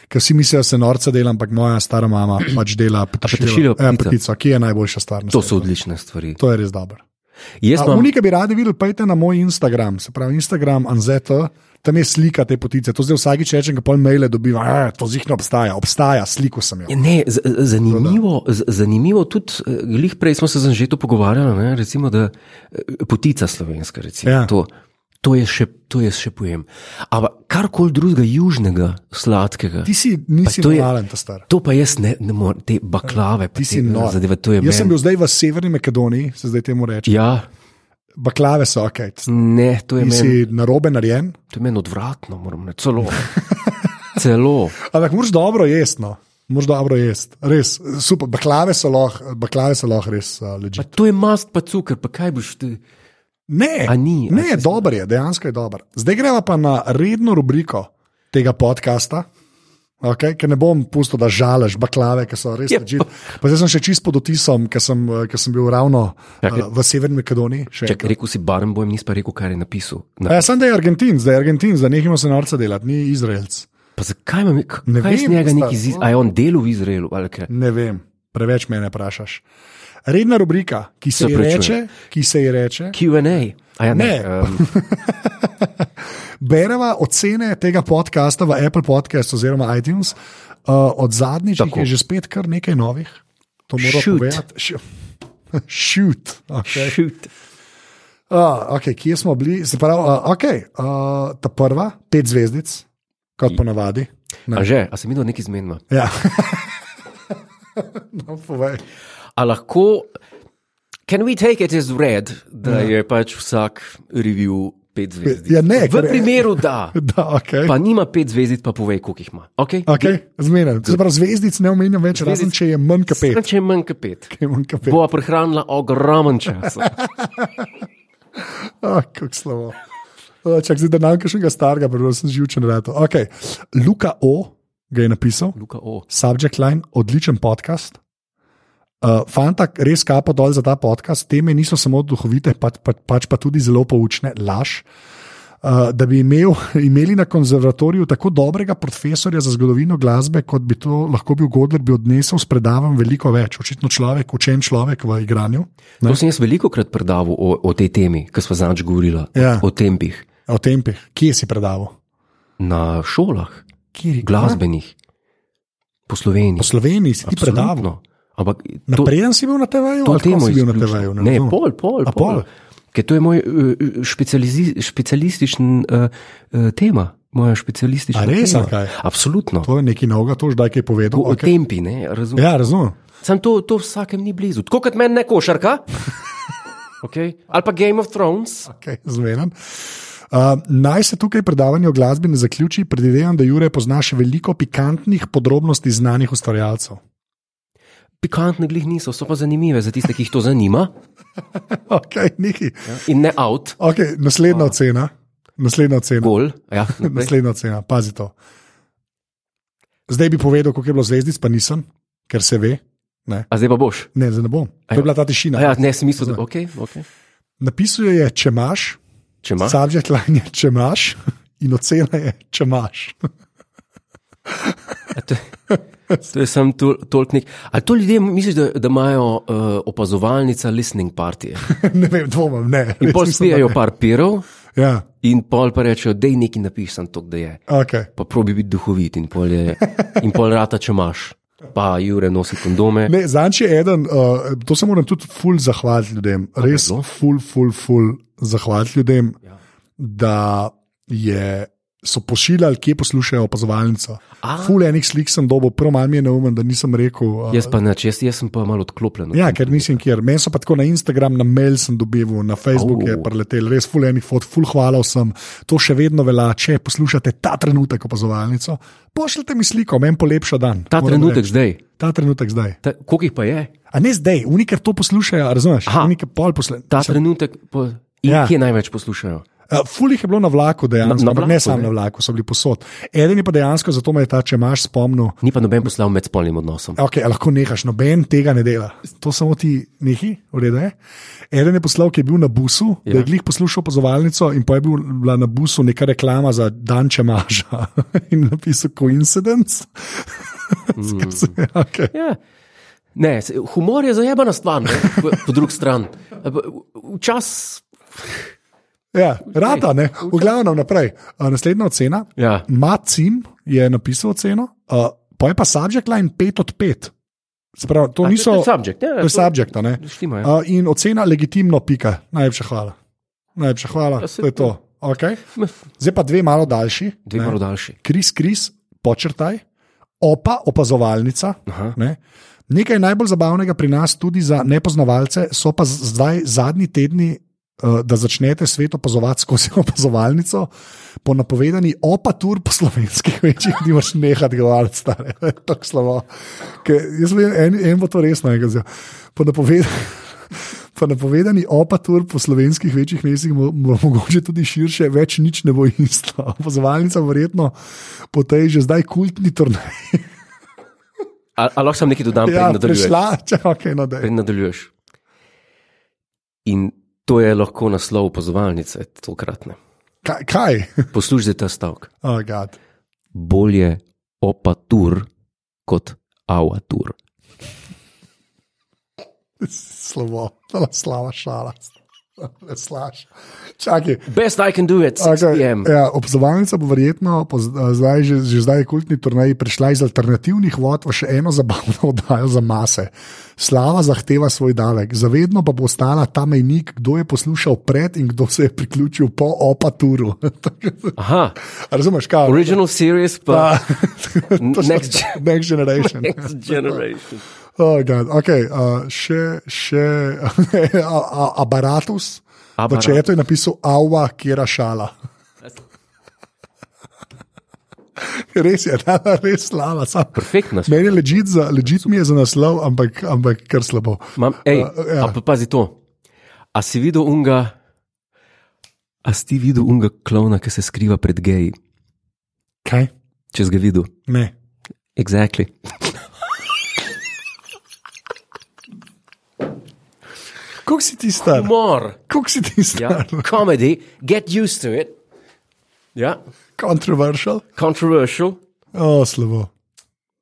Speaker 2: ki vsi mislijo, da se norca dela, ampak moja stara mama pač dela Petršiljeva
Speaker 1: Peteršiljeva
Speaker 2: eh,
Speaker 1: potica.
Speaker 2: potica, ki je najboljša stvar. na
Speaker 1: To so
Speaker 2: svetu.
Speaker 1: odlične stvari.
Speaker 2: to je res dobro.
Speaker 1: Jaz
Speaker 2: A
Speaker 1: imam,
Speaker 2: Unika bi radi videli, pejte na moj Instagram, se pravi Instagram Anzeta. Tam je slika te potice, to zdaj vsakič rečem, ko pol maile dobivam, "Ah, to zihno obstaja, obstaja, sliko sem jo.
Speaker 1: ne, z- z-
Speaker 2: No,
Speaker 1: zanimivo, z- zanimivo tudi, eh, glih prej smo se z Anžeto pogovarjali, ne, recimo, da eh, potica slovenska, recimo,
Speaker 2: Ja.
Speaker 1: ja. to, to, je še, to je še pojem. Ampak karkoli drugega južnega, sladkega,
Speaker 2: Ti si, nisi
Speaker 1: to je-
Speaker 2: normalen, ta star.
Speaker 1: to pa jaz ne, ne morem, te baklave, pa
Speaker 2: Ti si
Speaker 1: te, eh,
Speaker 2: nor.
Speaker 1: zadeve, to je
Speaker 2: Jaz sem
Speaker 1: meni-
Speaker 2: bil zdaj v Severni Makedoniji, se zdaj temu reče.
Speaker 1: Ja,
Speaker 2: Baklave so ok,
Speaker 1: ne, to je
Speaker 2: ti
Speaker 1: meni
Speaker 2: si narobe narejen.
Speaker 1: men odvratno, moram reči, celo. celo.
Speaker 2: Ampak moraš dobro jesti, no. moraš dobro jesti, res super. Baklave so lahko, baklave so lahko res uh, leži.
Speaker 1: Pa to je mast, pa cukr, pa kaj boš ti.
Speaker 2: Ne,
Speaker 1: A ni, a
Speaker 2: ne dober je, dejansko je dober. Zdaj greva pa na redno rubriko tega podcasta. Okay, ker ne bom pusto, da žalaš baklave, ki so res
Speaker 1: Ja.
Speaker 2: ležite. Zdaj sem še čisto pod otisom, ker sem, eh, ker sem bil ravno
Speaker 1: Čakaj.
Speaker 2: uh, v Severni Makedoniji. še
Speaker 1: Čak, rekel si Barenbojem, nisi pa rekel, kar je napisal. Na,
Speaker 2: Ja, sem da je Argentin, zdaj je Argentin, zdaj nehimo se norca delati, ni Izraelc.
Speaker 1: pa zakaj imam, k-
Speaker 2: Ne
Speaker 1: kaj je z
Speaker 2: vem,
Speaker 1: njega
Speaker 2: star,
Speaker 1: neki zid,
Speaker 2: no.
Speaker 1: a je on delal v Izraelu ali kaj?
Speaker 2: Ne vem, preveč me ne vprašaš. Redna rubrika, ki se,
Speaker 1: Se
Speaker 2: ji
Speaker 1: opravičujem.
Speaker 2: reče, ki se ji reče,
Speaker 1: Q&A. A Ja, ne,
Speaker 2: Ne.
Speaker 1: Um,
Speaker 2: bereva ocene tega podcasta v Apple Podcast oziroma iTunes, uh, od zadnjič jih
Speaker 1: Tako.
Speaker 2: je že spet kar nekaj novih. To moram
Speaker 1: Shoot.
Speaker 2: povedati. Š- Shoot. Okay.
Speaker 1: shoot.
Speaker 2: Uh, okay, kje smo bili? Se pravi, uh, okay, uh, ta prva, pet zvezdic, kot ponavadi. Ne.
Speaker 1: A že, a sem videl nekaj zmenjva.
Speaker 2: Ja. no, povej.
Speaker 1: A lahko, can we take it as read, da ja. je pač vsak review pet zvezdic?
Speaker 2: Ja, ne,
Speaker 1: v
Speaker 2: ker-
Speaker 1: primeru da,
Speaker 2: Da, okay.
Speaker 1: pa nima pet zvezdic, pa povej, koliko jih ima. Okay?
Speaker 2: Okay, Zmeraj. Prav zvezdic ne omenjam več,
Speaker 1: Zvezdic-
Speaker 2: razen če je manj kot pet.
Speaker 1: Sam, če je manj kot pet,
Speaker 2: Če je manj kot pet.
Speaker 1: bova prihranila ogromen čas.
Speaker 2: Ah, kako slabo. Ah, Čak zdaj, da nam kaj še nekaj starega, prvo sem živčen reto. Okay. Luka O. ga je napisal,
Speaker 1: Luka, o.
Speaker 2: subject line, odličen podcast. Uh, fanta, res kapo dol za ta podcast, teme niso samo duhovite, pač pa, pač pa tudi zelo poučne, laž. Uh, da bi imel, imeli na konzervatoriju tako dobrega profesorja za zgodovino glasbe, kot bi to lahko bil Godler, bi odnesel s predavanjem veliko več. Očitno človek, učen človek v igranju. Ne.
Speaker 1: To sem jaz veliko krat predaval o, o tej temi, ki smo zadnjič govorili,
Speaker 2: Ja.
Speaker 1: o tempih
Speaker 2: O tempih, kje si predaval?
Speaker 1: na šolah,
Speaker 2: Kjer je
Speaker 1: glasbenih, po Sloveniji.
Speaker 2: Po Sloveniji si ti
Speaker 1: Absolutno.
Speaker 2: predaval.
Speaker 1: Ampak to,
Speaker 2: Napreden si bil na TV-ju,
Speaker 1: to
Speaker 2: ali kako
Speaker 1: temo
Speaker 2: si bil na No.
Speaker 1: izključno.
Speaker 2: TV-ju?
Speaker 1: Ne,
Speaker 2: razumem.
Speaker 1: pol, pol.
Speaker 2: A pol?
Speaker 1: pol. Ker to je moj uh, specializi, specialističen uh, uh, tema, moja specialistična
Speaker 2: A res,
Speaker 1: tema.
Speaker 2: ali kaj?
Speaker 1: Absolutno.
Speaker 2: To je nekaj novega, to že daj kaj povedal.
Speaker 1: O
Speaker 2: Okay.
Speaker 1: tempi, ne, razumem. Ja.
Speaker 2: Ja, razumem.
Speaker 1: Sam to, to vsakem ni blizu. Tako kot meni ne košarka. Okay. Ali pa Game of Thrones.
Speaker 2: Okay, Zmeren. Uh, naj se tukaj predavanje o glasbi ne zaključi, predvidevam, da Jure pozna še veliko pikantnih podrobnosti znanih ustvarjalcev.
Speaker 1: Pikantne glih niso, so pa zanimive za tiste, ki jih to zanima.
Speaker 2: Okay, nekaj.
Speaker 1: In ne out,
Speaker 2: okay, naslednja ocena, naslednja ocena,
Speaker 1: gol. Ja, naprej.
Speaker 2: naslednja ocena, pazi to. Zdaj bi povedal, koliko je bilo zvezdic, pa nisem, ker se ve. Ne,
Speaker 1: A zdaj pa boš.
Speaker 2: ne, zdaj ne bom.
Speaker 1: Ajo.
Speaker 2: To je bila ta tišina.
Speaker 1: A Ja, ne, sem mislil, da okay, okay.
Speaker 2: Napisal je, če imaš,
Speaker 1: Če imaš.
Speaker 2: subject line je, če imaš, in ocena je, če imaš.
Speaker 1: A To, to je samo tol, toliko nek. Ali to ljudje misliš, da, da imajo uh, opazovalnica listening partije?
Speaker 2: ne vem, dvomim, ne.
Speaker 1: In
Speaker 2: res
Speaker 1: pol
Speaker 2: mislim, da
Speaker 1: spijajo
Speaker 2: ne.
Speaker 1: par pirov,
Speaker 2: Ja,
Speaker 1: in pol pa rečejo, da je neki napisan to, da je.
Speaker 2: okay.
Speaker 1: Pa probi biti duhovit in pol, je, in pol rata, če imaš. Pa Jure nosi kondome.
Speaker 2: Ne, Zanči je eden, uh, to se moram tudi ful zahvaliti ljudem, res
Speaker 1: zelo.
Speaker 2: ful, ful, ful zahvaliti ljudem,
Speaker 1: Ja.
Speaker 2: da je, so pošiljali, kje poslušajo opazovalnico.
Speaker 1: A.
Speaker 2: Ful enih slik sem dobil, prvo malo mi je neumen, da nisem rekel. Uh,
Speaker 1: Jaz pa neč, jaz, jaz sem pa malo odklopljen.
Speaker 2: Ja, ker nisem kjer. Meni so pa tako na Instagram, na mail sem dobival, na Facebook je
Speaker 1: Au.
Speaker 2: preletel, res ful enih fot, ful hvala vsem. To še vedno velja, če poslušate ta trenutek opazovalnico, pošljite mi sliko, meni polepša dan.
Speaker 1: Ta
Speaker 2: Moram
Speaker 1: trenutek
Speaker 2: reči.
Speaker 1: zdaj,
Speaker 2: Ta trenutek zdaj.
Speaker 1: ta, koliko jih pa je?
Speaker 2: A ne zdaj, oni ker to poslušajo, a razumeš?
Speaker 1: Aha.
Speaker 2: Oni ker pol poslušajo.
Speaker 1: Ta trenutek, po, in
Speaker 2: Ja.
Speaker 1: ja. kje največ poslušajo?
Speaker 2: Uh, Ful jih je bilo na vlaku, dejansko,
Speaker 1: Na- na
Speaker 2: ampak ne
Speaker 1: vlaku,
Speaker 2: samo
Speaker 1: ne.
Speaker 2: na vlaku, so bili posod. Eden je pa dejansko, zato me je ta, če imaš spomnil,
Speaker 1: Ni pa noben poslal med spolnim odnosom.
Speaker 2: Ok, a lahko nehaš, noben tega ne dela. To samo ti nehi, v redu je. Eden je poslal, ki je bil na busu, ja. da je glih poslušal pozovalnico in pa je bil- bila na busu neka reklama za dan če maža in napisal coincidence. Mm. okay.
Speaker 1: Ja. Ne, se- humor je zajebana stvar, ne, po, po drugi strani. Včasih.
Speaker 2: ja, rata, ne, v glavnem naprej. A, Naslednja ocena,
Speaker 1: Ja.
Speaker 2: Macim je napisal oceno, uh, pa je pa subject line 5 od 5. Sprav, to,
Speaker 1: A,
Speaker 2: niso,
Speaker 1: to je subject, ja,
Speaker 2: to je
Speaker 1: to-
Speaker 2: subject. a ne.
Speaker 1: Štima, ja.
Speaker 2: Uh, in ocena legitimno, pika. Najlepša hvala. Najlepša hvala.
Speaker 1: Ja, saj
Speaker 2: To je to. Okay. Zdaj pa dve malo daljši.
Speaker 1: Hm, Dve
Speaker 2: ne.
Speaker 1: malo daljši.
Speaker 2: Kris, kris, počrtaj, opa, opazovalnica.
Speaker 1: Aha.
Speaker 2: Ne. Nekaj najbolj zabavnega pri nas, tudi za nepoznavalce, so pa z- zdaj zadnji tedni, eh, da začnete svet opazovati skozi opazovalnico, po napovedani opatur po slovenskih večjih, ni več nehati govoriti, stare, To je no, tako slabo. Ker Jaz vem, en, en bo to resno, enkrat. Po napovedani. Pa napovedani opatur po slovenskih večjih mestih, mo- mo- mogoče tudi širše, več nič ne bo isto. Opazovalnica verjetno po tej že zdaj kultni turnaj.
Speaker 1: A, a lahko sam nekaj dodam, ja, preden nadaljuješ?
Speaker 2: prešla, če ok, no da je.
Speaker 1: Preden nadaljuješ. In to je lahko naslov opazovalnice, tokratne.
Speaker 2: Kaj? kaj?
Speaker 1: Poslušajte ta stavek.
Speaker 2: Oh, God.
Speaker 1: Bolje opatur kot avatur.
Speaker 2: Slabo, tole slaba šala. Ne slaš. Čakaj.
Speaker 1: Best I can do it, 6 p.m.
Speaker 2: Okay, ja, Obzovalnica bo verjetno, po z- eh, zdaj, že, že zdaj je kultni turnaj, prišla iz alternativnih vod v še eno zabavno oddajo za mase. Slava zahteva svoj davek, zavedno pa bo ostala ta mejnik, kdo je poslušal pred in kdo se je priključil po opaturu. Tako-
Speaker 1: Aha,
Speaker 2: Razumeš, kaj?
Speaker 1: original series pa
Speaker 2: Ja.
Speaker 1: next gen-
Speaker 2: Next generation.
Speaker 1: next generation.
Speaker 2: Oh, God. okay, uh, še še a- a- aparatus. V
Speaker 1: Aparatus.
Speaker 2: četu je napisal Ava, kjer je šala. Res je, ta res slava. sam.
Speaker 1: Perfektno.
Speaker 2: Meni je ležit, ležit mi je za naslov, ampak, ampak kar slabo.
Speaker 1: Mam, ej,
Speaker 2: Uh, ja.
Speaker 1: a pa pazi to. A si videl unga, a si ti videl unga klovna, ki se skriva pred geji,
Speaker 2: Kaj?
Speaker 1: če si ga videl?
Speaker 2: Ne.
Speaker 1: Exactly.
Speaker 2: Kako si ti star?
Speaker 1: More.
Speaker 2: Kako si ti star?
Speaker 1: Ja, comedy, get used to it. Ja,
Speaker 2: Controversial?
Speaker 1: controversial.
Speaker 2: O, oh, slabo.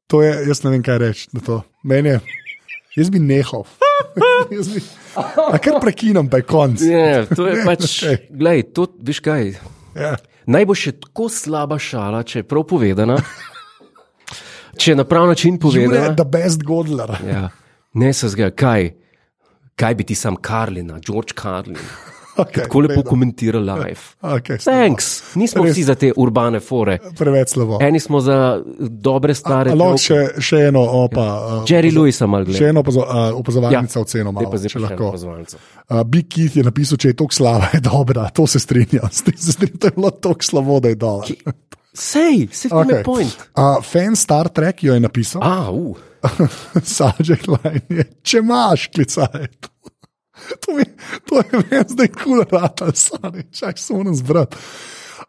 Speaker 2: To je, jaz ne vem, kaj reči na to. Meni je, jaz bi nehal. Jaz bi, a kar prekinem, pa je konc.
Speaker 1: Ja, to je pač,
Speaker 2: Okej.
Speaker 1: gledaj, to veš kaj.
Speaker 2: Ja.
Speaker 1: Naj bo še tako slaba šala, če je prav povedana, če je na prav način
Speaker 2: Jure je
Speaker 1: povedana.
Speaker 2: the best godler.
Speaker 1: Ja, ne se zgodi, kaj, kaj bi ti sam Karlina, George Karlin,
Speaker 2: Okay,
Speaker 1: tako lepo komentiral live.
Speaker 2: Okay, slabo.
Speaker 1: Thanks, nismo vsi za te urbane fore.
Speaker 2: Preveč slabo.
Speaker 1: Eni smo za dobre stare. joke.
Speaker 2: Lahko še, še eno opa. Uh,
Speaker 1: Jerry Lewis, ali
Speaker 2: Še
Speaker 1: gledaj.
Speaker 2: eno opazo- uh, opazovalnico ja. oceno,
Speaker 1: Ja. Zdaj pa
Speaker 2: malo,
Speaker 1: zdaj pa
Speaker 2: če
Speaker 1: še eno
Speaker 2: lahko.
Speaker 1: pozvalnico.
Speaker 2: Uh, Big Keith je napisal, če je tok slava, je dobra, to se strinjam. S tem se strinjam, to je bilo tok slavo, da je dol.
Speaker 1: Sej, se ti okay. je point.
Speaker 2: Uh, fan Star Trek jo je napisal,
Speaker 1: A, u.
Speaker 2: subject line je, če imaš klicaj. To, mi, to je meni zdaj kul, cool rata, stari, čak se moram zbrati.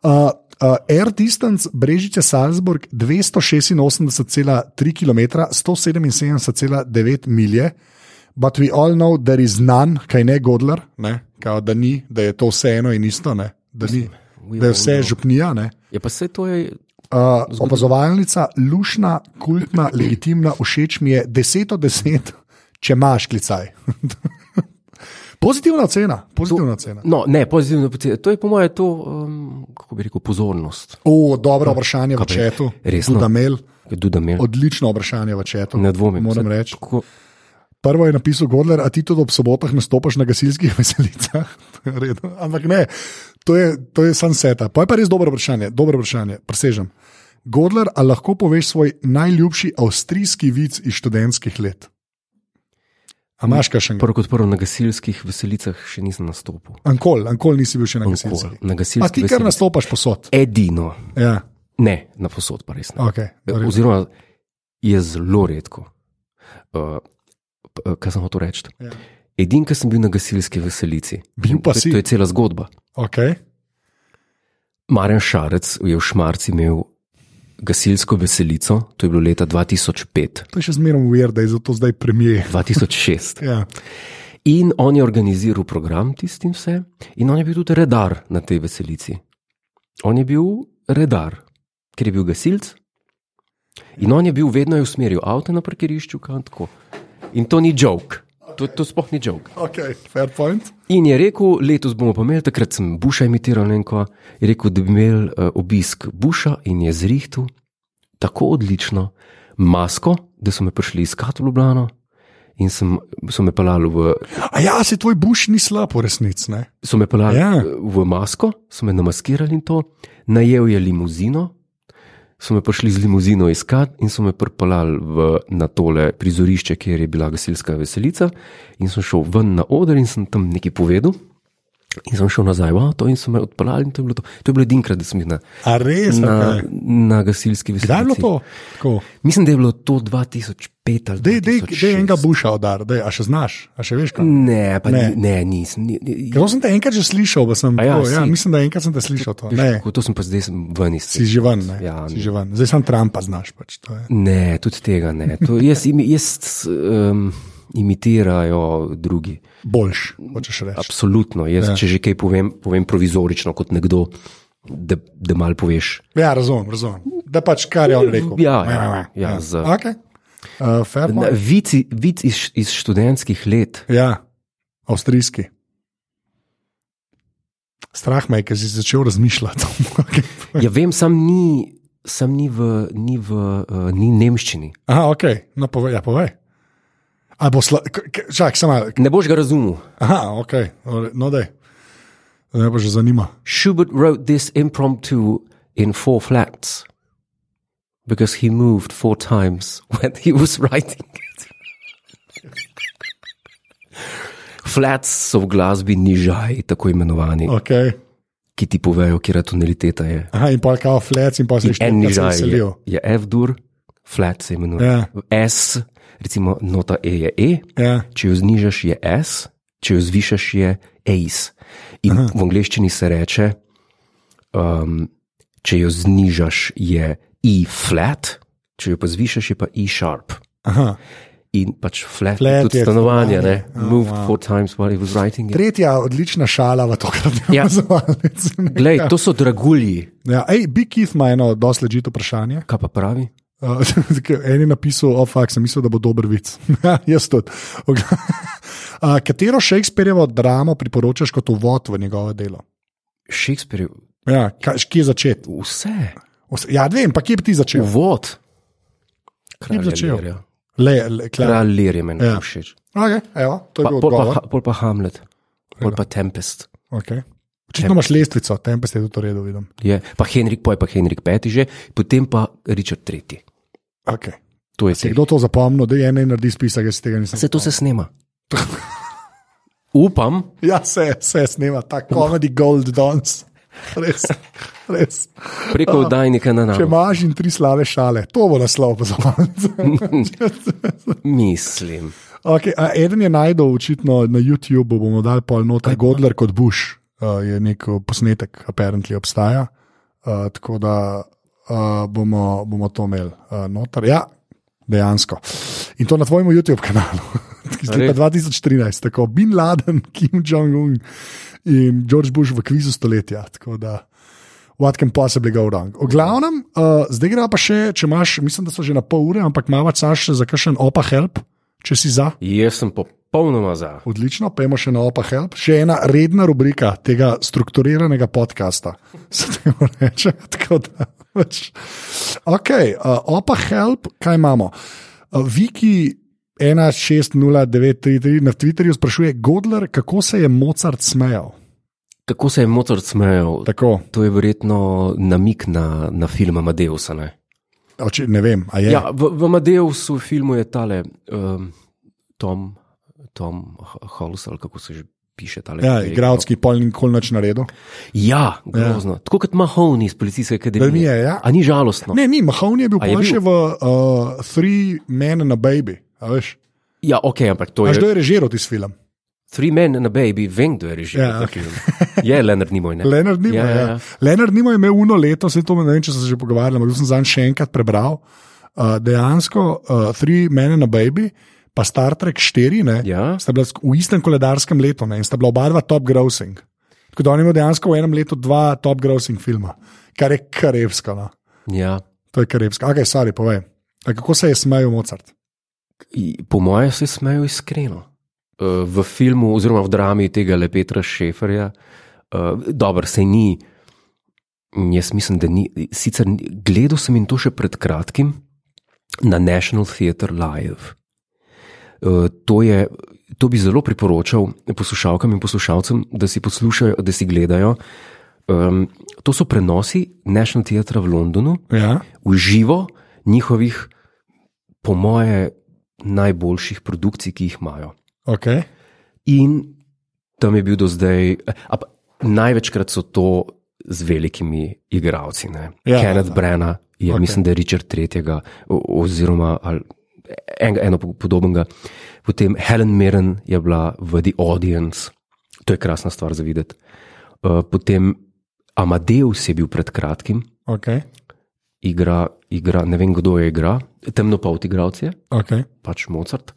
Speaker 2: Uh, uh, Air distance Brežice Salzburg 286,3 km, 177,9 milje. But we all know there is none, kaj ne Godler, ne? Kao, da ni, da je to vseeno in isto, ne? da, ni,
Speaker 1: we
Speaker 2: da je
Speaker 1: all
Speaker 2: vse
Speaker 1: know.
Speaker 2: župnija. Ne?
Speaker 1: Ja, pa se to je.
Speaker 2: Uh, opazovalnica, lušna, kultna, legitimna, všeč mi je 10 od 10, če imaš klicaj. pozitivna ocena, pozitivna ocena.
Speaker 1: No, ne, pozitivno. pote- To je po mojem, to, um, kako bi rekel, pozornost.
Speaker 2: O, dobro vprašanje v četu,
Speaker 1: Resno?
Speaker 2: Dudamel,
Speaker 1: Dudamel.
Speaker 2: odlično vprašanje v četu.
Speaker 1: Ne dvomim.
Speaker 2: Moram
Speaker 1: Saj,
Speaker 2: reči.
Speaker 1: Kako,
Speaker 2: Prvo je napisal Godler, a ti tudi ob sobotah nastopaš na gasilskih veselicah. Redno. Ampak ne, to je, to je sam seta. Pa je pa res dobro vprašanje, dobro vprašanje, presežem. Godler, a lahko poveš svoj najljubši avstrijski vic iz študentskih let? A imaš kakšen?
Speaker 1: prvo kot prvo, na gasilskih veselicah še nisem nastopil.
Speaker 2: Ankol, ankol nisi bil še na
Speaker 1: Nikoli.
Speaker 2: gasilskih.
Speaker 1: Na
Speaker 2: Pa
Speaker 1: gasilskih
Speaker 2: ti kar
Speaker 1: veselicah.
Speaker 2: nastopaš posod.
Speaker 1: Edino,
Speaker 2: Ja,
Speaker 1: ne, na posod pa res ne.
Speaker 2: okay, v redu.
Speaker 1: Oziroma, je zelo redko. Uh, p- uh, kaj sem hotel reči?
Speaker 2: Ja.
Speaker 1: Edin, ki sem bil na gasilski veselici.
Speaker 2: Bil pa
Speaker 1: To je-
Speaker 2: si.
Speaker 1: To je cela zgodba.
Speaker 2: okay.
Speaker 1: Marjan Šarec je v Šmarcu imel gasilsko veselico, to je bilo leta 2005,
Speaker 2: To je še zmeraj uver, da je zato zdaj premijer.
Speaker 1: 2006.
Speaker 2: Ja.
Speaker 1: In on je organiziral program tistim vse, in on je bil tudi redar na tej veselici. On je bil redar, ker je bil gasilc. In on je bil vedno je usmeril avto na parkirišču, kam tako. In to ni joke, to, to sploh ni joke.
Speaker 2: Okay, fair point.
Speaker 1: In je rekel, letos bomo pa imeli, takrat sem Buša imitiral enko, je rekel, da bi imeli uh, obisk Buša in je zrihtel tako odlično masko, da so me prišli iskati v Ljubljano in sem, so me pelali v,
Speaker 2: A ja, se tvoj buš ni slab v resnici, ne?
Speaker 1: so me pelali,
Speaker 2: Ja.
Speaker 1: ja. v masko, so me namaskirali in to, najel je limuzino, so me prišli z limuzino iskat in so me pripeljali v- na tole prizorišče, kjer je bila gasilska veselica in sem šel ven na oder in sem tam nekaj povedal. In sem šel nazaj, wow, to in so me odpeljali. in To je bilo, to. To je bilo edinkrat, da sem jih na,
Speaker 2: A res?
Speaker 1: na,
Speaker 2: okej.
Speaker 1: na gasilski veselici.
Speaker 2: Kdaj je bilo to? Tako.
Speaker 1: Mislim, da je bilo to 2005 ali
Speaker 2: Dej, dej, dej
Speaker 1: 2006.
Speaker 2: enega buša odar, dej, a še znaš, a še veš kaj.
Speaker 1: Ne, pa
Speaker 2: Ne.
Speaker 1: ne, ne nisem. Ni, ni,
Speaker 2: Ker to sem te enkrat že slišal, pa sem,
Speaker 1: A ja,
Speaker 2: ja, tako, ja,
Speaker 1: si.
Speaker 2: mislim, da enkrat sem te slišal. To.
Speaker 1: Veš,
Speaker 2: Ne,
Speaker 1: kako, to sem pa zdaj sem ven iz
Speaker 2: si
Speaker 1: tega.
Speaker 2: živan, ne,
Speaker 1: Ja,
Speaker 2: si
Speaker 1: ne.
Speaker 2: živan. Zdaj sem Trumpa znaš. Pač, to je.
Speaker 1: Ne, tudi tega ne. To, jaz, imi- jaz um, imitirajo drugi.
Speaker 2: Boljš, hočeš reči.
Speaker 1: Absolutno. Jaz, ja. Če že kaj povem, povem provizorično kot nekdo, da, da mal poveš.
Speaker 2: Ja, razumem, razumem. Da pač kar je on rekel.
Speaker 1: Ja, ja, ja, za-
Speaker 2: Okay. Uh, fair
Speaker 1: Na,
Speaker 2: point.
Speaker 1: vic, vic iz, iz študentskih let.
Speaker 2: Ja, avstrijski. Strah me je, ker si začel razmišljati. okay.
Speaker 1: Ja, vem, sam ni, sam ni v, ni v uh, ni nemščini.
Speaker 2: Aha, ok, no povej. Ja, povej. A bo sla... k- k- Čak, sama.
Speaker 1: Ne boš ga razumel.
Speaker 2: Aha, ok, no da. Me pa že zanima.
Speaker 1: Schubert wrote this impromptu in four flats because he moved four times when he was writing it. Flats so v glasbi nižaj, tako imenovani,
Speaker 2: Okay.
Speaker 1: ki ti povejo, kje tonaliteta je.
Speaker 2: Aha, in pa kao flec, in pa se še
Speaker 1: En
Speaker 2: nekaj
Speaker 1: nižaj je,
Speaker 2: veselil.
Speaker 1: je F-dur, flat se imenuje.
Speaker 2: Ja.
Speaker 1: S, recimo nota E je E,
Speaker 2: Ja,
Speaker 1: če jo znižaš je S, če jo zvišaš je ace. In Aha. v angleščini se reče, um, če jo znižaš je E flat, če jo pa zvišaš je pa E sharp.
Speaker 2: aha.
Speaker 1: In pač flat,
Speaker 2: Flat
Speaker 1: flat tudi
Speaker 2: je
Speaker 1: stanovanje, ne?
Speaker 2: stanovanje. Ah,
Speaker 1: Moved four times while he was writing it.
Speaker 2: Tretja odlična šala v tokratnem
Speaker 1: Ja.
Speaker 2: opazovalnici.
Speaker 1: Glej, to so dragulji.
Speaker 2: Ja, ej, Big Keith ima eno dosti ležito vprašanje.
Speaker 1: Kaj pa pravi?
Speaker 2: Uh, en je napisal, ofak, sem mislil, da bo dober vic. Ja, Jaz tudi. V gla- Uh, katero Shakespeareovo dramo priporočaš kot uvod v njegovo delo?
Speaker 1: Shakespeare,
Speaker 2: Ja, kaj, kje začeti?
Speaker 1: vse,
Speaker 2: Vse- Ja, vem, pa kje bi ti začel?
Speaker 1: uvod.
Speaker 2: bi začel?
Speaker 1: Lirja.
Speaker 2: Le, le, klar.
Speaker 1: Kralj Lir je meni
Speaker 2: Ja.
Speaker 1: ja. všeč.
Speaker 2: okay, evo, to je
Speaker 1: Pa,
Speaker 2: bil
Speaker 1: pol, pa,
Speaker 2: odgovor. Ja.
Speaker 1: Ha- pol pa Hamlet, pol pa Tempest.
Speaker 2: Okay. Očitno imaš lestvico, tempest je tudi to redo, vidim.
Speaker 1: Je. Pa Henrik, poj pa Henrik V, že, potem pa Richard III.
Speaker 2: Okay.
Speaker 1: To je
Speaker 2: Si
Speaker 1: tega.
Speaker 2: kdo to zapomnil, da je ena naredi spisek, jaz si tega nisem.
Speaker 1: Vse to se snema. Upam,
Speaker 2: Ja, se, se snema, ta komedi Gold Dons. Res, res.
Speaker 1: preko oddajnika na
Speaker 2: Ah. Če
Speaker 1: nas.
Speaker 2: imaš in tri slave šale, to bo naslov pozornice.
Speaker 1: Mislim.
Speaker 2: okay, a eden je najdel, očitno na YouTubu bomo dali pol noter, Godler kot Bush uh, je nek posnetek, apparently obstaja. Uh, tako da uh, bomo, bomo to imeli uh, noter. Ja, dejansko. In to na tvojem YouTube kanalu. Iz leta
Speaker 1: Res?
Speaker 2: 2013, tako Bin Laden, Kim Jong-un in George Bush v kvizu stoletja. Tako da, what can possibly go wrong. O glavnem, uh, zdaj gre pa še, če imaš, mislim, da so že na pol ure, ampak imaš še za kakšen opa help, če si za.
Speaker 1: Jaz sem popolnoma za.
Speaker 2: Odlično, pojmo še na opa help. Še ena redna rubrika tega strukturiranega podcasta. Se temu reče. Tako da, pač. Ok, uh, opa help, kaj imamo? Uh, Viki 160933 na Twitterju sprašuje Godler, kako se je Mozart smejal.
Speaker 1: Kako se je motor smejal?
Speaker 2: Tako,
Speaker 1: To je verjetno namik na, na film Amadeusa. Ne,
Speaker 2: oči, ne vem, a je.
Speaker 1: ja, v, v Amadeusu filmu je tale um, Tom, Tom Hollis, ali kako se že piše. Tale,
Speaker 2: Ja,
Speaker 1: ki je
Speaker 2: igravski pol nikoli nič naredil.
Speaker 1: Ja, grozno. Ja. Tako kot Mahoney iz policijske
Speaker 2: Da mi
Speaker 1: akademije.
Speaker 2: je, ja.
Speaker 1: A ni žalostno.
Speaker 2: Ne, ni, Mahoney je bil
Speaker 1: A je
Speaker 2: pol
Speaker 1: bil?
Speaker 2: še v uh, Three Men and a Baby. a Veš,
Speaker 1: Ja, ok, ampak to
Speaker 2: Veš,
Speaker 1: je.
Speaker 2: kdo je režiral tisti film?
Speaker 1: Three men and a baby, vem, kdo je režiral.
Speaker 2: Ja,
Speaker 1: ta
Speaker 2: okej.
Speaker 1: film. Je Leonard Nimoy, ne?
Speaker 2: Leonard Nimo,
Speaker 1: Ja,
Speaker 2: ja,
Speaker 1: ja,
Speaker 2: ja.
Speaker 1: ja.
Speaker 2: Leonard Nimo je imel uno leto, se to ne vem, če so se že pogovarjali, ampak to sem zanj še enkrat prebral. Uh, dejansko, uh, Three Men and a Baby, pa Star Trek 4, ne,
Speaker 1: Ja.
Speaker 2: sta bila sk- v istem koledarskem letu ne, in sta bila oba dva top grossing. Tako da on je imel dejansko v enem letu dva top grossing filma, kar je karibsko. No.
Speaker 1: ja.
Speaker 2: To je karibsko. Akaj, stari, povej. A kako se je smejal Mozart?
Speaker 1: I- Po mojem se smejo iskreno. Eh, V filmu, oziroma v drami tega le Petra Šeferja, eh, dobro, se ni. Jaz mislim, da ni. Sicer ni- gledal sem in to še pred kratkim na National Theatre Live. Eh, To, je, to bi zelo priporočal poslušalkam in poslušalcem, da si poslušajo, da si gledajo. Em, To so prenosi National Theatre v Londonu,
Speaker 2: Ja,
Speaker 1: v živo njihovih, po moje, najboljših produkcij, ki jih imajo.
Speaker 2: ok.
Speaker 1: In tam je bil do zdaj. A, pa, največkrat so to z velikimi igravci.
Speaker 2: Ja,
Speaker 1: Ja, Kenneth ja.
Speaker 2: ja.
Speaker 1: Brenna je,
Speaker 2: Okej.
Speaker 1: okay. mislim, da je Richard III. oziroma ali en, eno po- podobnega. Potem Helen Mirren je bila v The Audience, to je krasna stvar za videti. Uh, potem Amadeus je bil pred kratkim,
Speaker 2: Okay.
Speaker 1: igra, igra ne vem kdo je igra, temnopolt igralec je,
Speaker 2: Okay.
Speaker 1: pač Mozart.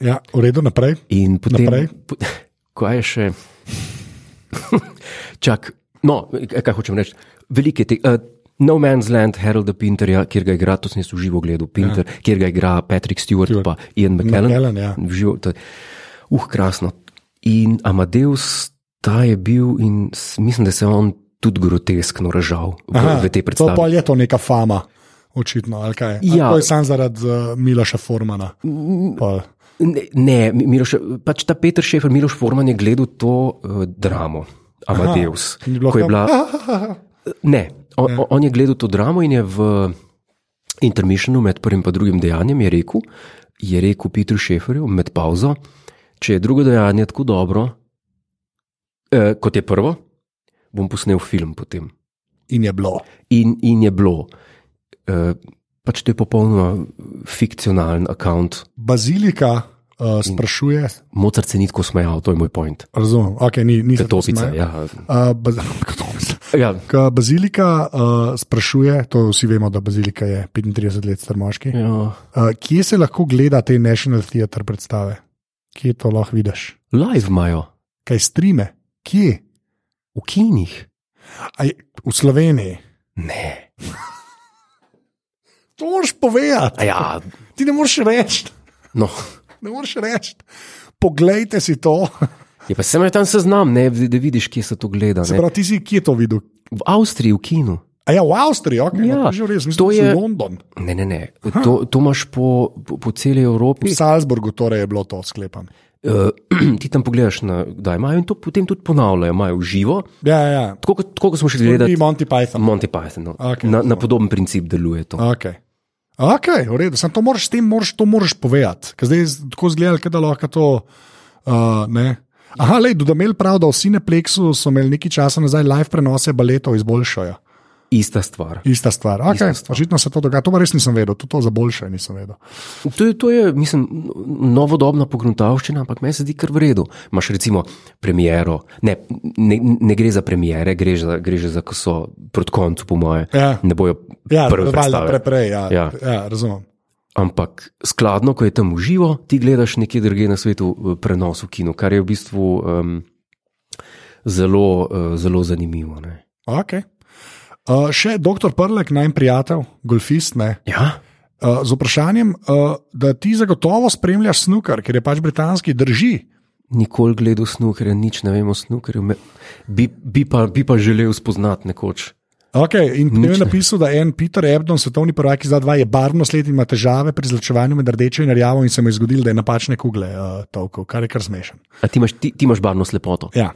Speaker 2: Ja, v redu, naprej.
Speaker 1: In potem,
Speaker 2: Naprej.
Speaker 1: po- kaj je še? Čak, no, k- kaj hočem reči. Veliko je tega. Uh, No Man's Land, Harold Pinterja, kjer ga igra, to sem jaz v živo gledal, Pinter, ja. kjer ga igra Patrick Stewart in pa Ian McKellen.
Speaker 2: McKellen, ja.
Speaker 1: V Živo, to, je- uh, krasno. In Amadeus, ta je bil in s- mislim, da se je on tudi groteskno ražal v, v tej
Speaker 2: to
Speaker 1: predstavi.
Speaker 2: pol je to neka fama, očitno. ali kaj? Ali
Speaker 1: Ja. Mm,
Speaker 2: To je sam zaradi uh, Miloša Formana. Pol.
Speaker 1: Ne, ne Mi- Miloš, pač ta Peter Šefer, Miloš Forman je gledal to uh, dramo, Amadeus.
Speaker 2: Ni bilo Ah.
Speaker 1: ko je
Speaker 2: tam,
Speaker 1: bila, ne, on, ne, on je gledal to dramo in je v intermišnu med prvim in drugim dejanjem je rekel, je rekel Petru Šeferju med pauzo, če je drugo dejanje tako dobro, eh, kot je prvo, bom posnel film potem.
Speaker 2: In je bilo.
Speaker 1: In, in je bilo. Eh, pač to je popolnoma fikcionalen račun.
Speaker 2: Bazilika uh, sprašuje,
Speaker 1: Mozart se ni tako smejal, to je moj point.
Speaker 2: razumem, okay, ni, ni se to
Speaker 1: Topica,
Speaker 2: smejal.
Speaker 1: ja.
Speaker 2: Uh, baz Katopica.
Speaker 1: Ja,
Speaker 2: Ko Bazilika uh, sprašuje, to vsi vemo, da Bazilika je 35 let star moški.
Speaker 1: ja.
Speaker 2: Uh, kje se lahko gleda te National Theatre predstave? Kje to lahko vidiš?
Speaker 1: Live imajo,
Speaker 2: Kaj strime? Kje?
Speaker 1: v kinih.
Speaker 2: A je, v Sloveniji.
Speaker 1: Ne.
Speaker 2: To moraš povedati,
Speaker 1: A ja,
Speaker 2: ti ne moreš reči.
Speaker 1: no.
Speaker 2: Ne moreš reči. Poglejte si to.
Speaker 1: Je pa sem že tam seznam, ne, da vidiš, kje se to gleda.
Speaker 2: Se
Speaker 1: Ne.
Speaker 2: pravi, ti si kje to videl?
Speaker 1: V Avstriji, v kinu.
Speaker 2: A ja, v Avstriji, ok, ja,
Speaker 1: Ja,
Speaker 2: no, to je že res, mislim,
Speaker 1: to
Speaker 2: da je
Speaker 1: je-
Speaker 2: London.
Speaker 1: Ne, ne, ne. To, to imaš po, po, po celi Evropi.
Speaker 2: V Salzburgu torej je bilo to, sklepam.
Speaker 1: Uh, ti tam pogledaš, na, da imajo in to potem tudi ponavljajo, imajo v živo.
Speaker 2: Ja, ja, ja.
Speaker 1: Tako kot, tako kot smo še gledali
Speaker 2: Gledati... Monty Python.
Speaker 1: Monty Python. No.
Speaker 2: Okej,
Speaker 1: na, na podoben princip deluje to.
Speaker 2: Ok, okay v redu, sem to moraš, s tem moraš, to moraš povedati. Ker zdaj je tako zgledali, da lahko to. Uh, ne. Aha, le, da imel prav, da v Cineplexu so imeli nekaj časa nazaj live prenose baletov iz Bolšoja.
Speaker 1: Ista stvar.
Speaker 2: Ista stvar. Okay, Očitno se to dogaja, to pa res nisem vedel, tudi to za Bolšoja nisem vedel.
Speaker 1: To je, to je mislim, novodobna pogruntavščina, ampak meni se zdi kar v redu. Imáš recimo premiero, ne, ne, ne gre za premiere, gre za, gre že za, ko so proti koncu, po moje.
Speaker 2: Ja.
Speaker 1: Ne bojo
Speaker 2: Ja,
Speaker 1: prve
Speaker 2: valjda,
Speaker 1: predstave.
Speaker 2: pre, prej, ja, ja.
Speaker 1: Ja.
Speaker 2: ja, razumem.
Speaker 1: Ampak skladno, ko je tam uživo, ti gledaš nekje drugje na svetu eh, prenos v kinu, kar je v bistvu um, zelo, uh, zelo zanimivo. Ne?
Speaker 2: Okay. Uh, še doktor Prlek, najmanj prijatelj, golfist, ne,
Speaker 1: Ja,
Speaker 2: uh, z vprašanjem, uh, da ti zagotovo spremljaš snukar, ker je pač britanski, drži.
Speaker 1: nikoli gledal snukerja, nič ne vem o snukerju, me- bi, bi, pa, bi pa želel spoznati nekoč.
Speaker 2: Okay, in potem je
Speaker 1: Nič ne.
Speaker 2: napisal, da en Peter Ebdon, svetovni prvak iz 2, je barvno sled in ima težave pri izločevanju med rdečo in rjavo, in se mu je zgodilo, da je napačne kugle uh, tolkel, kar je kar smešen.
Speaker 1: A ti imaš, ti, ti imaš barno slepoto.
Speaker 2: Ja.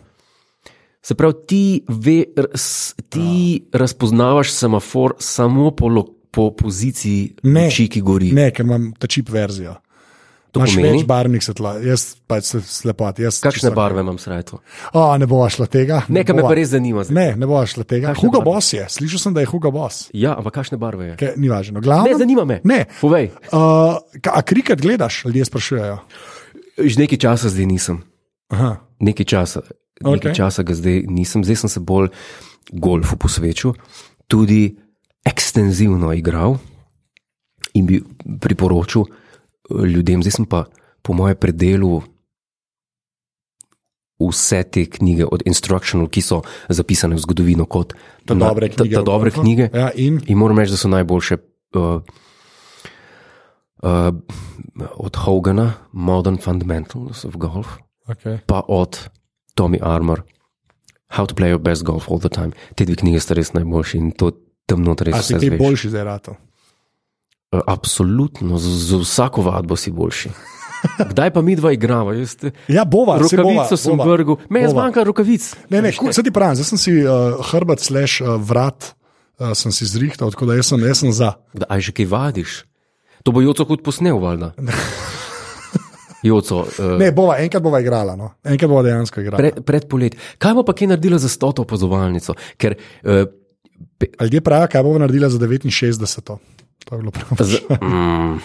Speaker 1: Se pravi, ti, ve, rs, ti
Speaker 2: Ja.
Speaker 1: razpoznavaš semafor samo po, lo, po poziciji
Speaker 2: Ne.
Speaker 1: luči, ki gori.
Speaker 2: Ne, ker imam ta čip verzijo.
Speaker 1: To
Speaker 2: Imaš
Speaker 1: pomeni?
Speaker 2: več barvnih svetla, jaz pač se slepot. Jaz
Speaker 1: Kakšne
Speaker 2: čisto-
Speaker 1: barve imam srajto?
Speaker 2: O, ne bova šla tega.
Speaker 1: Nekaj me
Speaker 2: bova.
Speaker 1: pa res zanima. zdaj.
Speaker 2: Ne, ne boš šla tega.
Speaker 1: Kakšne
Speaker 2: Hugo
Speaker 1: barve?
Speaker 2: Boss je, slišal sem, da je Hugo Boss.
Speaker 1: Ja, ampak kakšne barve je?
Speaker 2: Ke, ni važno. Glavno,
Speaker 1: Ne, zanima me.
Speaker 2: Ne.
Speaker 1: Povej,
Speaker 2: Uh, ka, a kriket gledaš, ljudje sprašujejo.
Speaker 1: že nekaj časa zdaj nisem.
Speaker 2: Aha.
Speaker 1: Nekaj časa, okay. nekaj
Speaker 2: Okej.
Speaker 1: časa ga zdaj nisem, zdaj sem se bolj golfu posvečal, tudi ekstenzivno igral in bi priporočil eh, ljudem. Zdaj sem pa, po mojem, predelu vse te knjige od Instructional, ki so zapisane v zgodovino kot
Speaker 2: Ta
Speaker 1: na-
Speaker 2: dobre knjige.
Speaker 1: Ta, ta dobre knjige.
Speaker 2: Ja, in
Speaker 1: In moram reči, da so najboljše. Uh, Uh, od Hogana, Modern Fundamentals of Golf,
Speaker 2: okay.
Speaker 1: pa od Tommy Armour, How to Play Your Best Golf All the Time. Te dve knjige sta res najboljši in to tam noter
Speaker 2: a
Speaker 1: res
Speaker 2: si
Speaker 1: vse
Speaker 2: kaj
Speaker 1: zveš.
Speaker 2: boljši zdaj rato.
Speaker 1: Eh, Absolutno, z, z vsako vadbo si boljši. Kdaj pa mi dva igrava? Jaz te-
Speaker 2: Ja, bova, se bova,
Speaker 1: Rokavico sem
Speaker 2: bova.
Speaker 1: vrgel, me je
Speaker 2: Bova.
Speaker 1: zmanjkalo rokavic.
Speaker 2: Ne, ne, se ti pravim, zdaj sem si uh, hrbet slash uh, vrat, uh, sem si zrihtal, tako da jaz sem, jaz sem za.
Speaker 1: Kdaj že kaj vadiš? To bo Joco kot posnel, valjda. Joco, uh,
Speaker 2: Ne, bova, enkrat bova igrala, no. enkrat bova dejansko igrala.
Speaker 1: pre, pred poletjem. Kaj bo pa kaj naredila za stoto opazovalnico? Ker, uh, pe,
Speaker 2: A Ljudje pravijo, kaj bova naredila za 69. To je bilo prav.
Speaker 1: z, mm,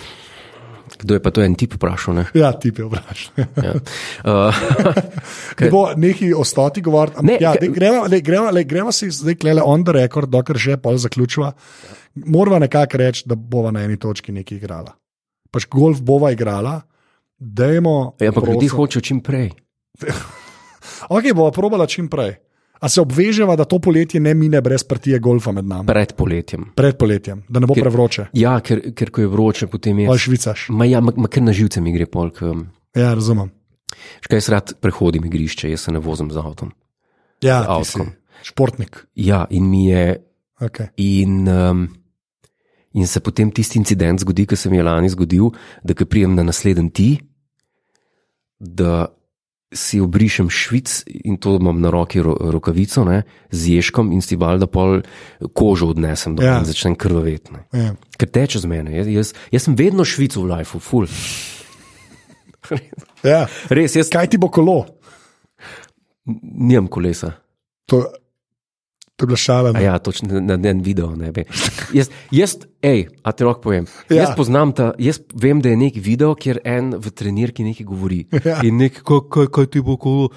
Speaker 1: kdo je pa to en tip vprašal? Ne?
Speaker 2: Ja, ti je vprašanje.
Speaker 1: Ja. Uh,
Speaker 2: Ne bo neki o stoti govoriti.
Speaker 1: Ne,
Speaker 2: ampak Ja,
Speaker 1: ke-
Speaker 2: daj, greva, daj, greva, lej, greva si zdaj klele on the record, dokler že pol zaključva. Morava nekako reči, da bova na eni točki nekaj igrala. Pač golf bova igrala, dajmo.
Speaker 1: ja, ampak ljudi hočejo čim prej.
Speaker 2: Ok, bova probala čim prej. A se obveževa, da to poletje ne mine brez partije golfa med nami,
Speaker 1: Pred poletjem.
Speaker 2: pred poletjem, da ne bo prevroče.
Speaker 1: Ja, ker, ker ko je vroče, potem je.
Speaker 2: Pa švicaš.
Speaker 1: Ma ja, ma, ma kar na živce mi gre polk. Um,
Speaker 2: Ja, razumem.
Speaker 1: škaj jaz rad prehodim igrišče, jaz se ne vozim z avtom.
Speaker 2: Ja, ti si
Speaker 1: Avtkom.
Speaker 2: športnik.
Speaker 1: Ja, in mi je.
Speaker 2: Okay.
Speaker 1: In, um, in se potem tisti incident zgodi, ki se mi je lani zgodil, da ko prijem na naslednji ti, da si obrišem švic in to imam na roki ro, rokavico ne, z ježkom in si valjda pol kožo odnesem dol
Speaker 2: Ja.
Speaker 1: ja. in začnem krvavetne.
Speaker 2: Ja.
Speaker 1: Ker teče z mene, jaz, jaz, jaz sem vedno švic v lifeu, ful.
Speaker 2: Ja.
Speaker 1: Res, jaz
Speaker 2: Kaj ti bo kolo?
Speaker 1: nimam kolesa.
Speaker 2: To, to je bila šala.
Speaker 1: A
Speaker 2: ne?
Speaker 1: ja, točno na- na en video ne bi. Jaz, jaz ej, a ti lahko povem.
Speaker 2: Ja.
Speaker 1: Ja. Jaz poznam ta, jaz vem, da je nek video, kjer en v trenirki nekaj govori.
Speaker 2: Ja.
Speaker 1: Ja. In nek, kaj, kaj, kaj ti bo kolo.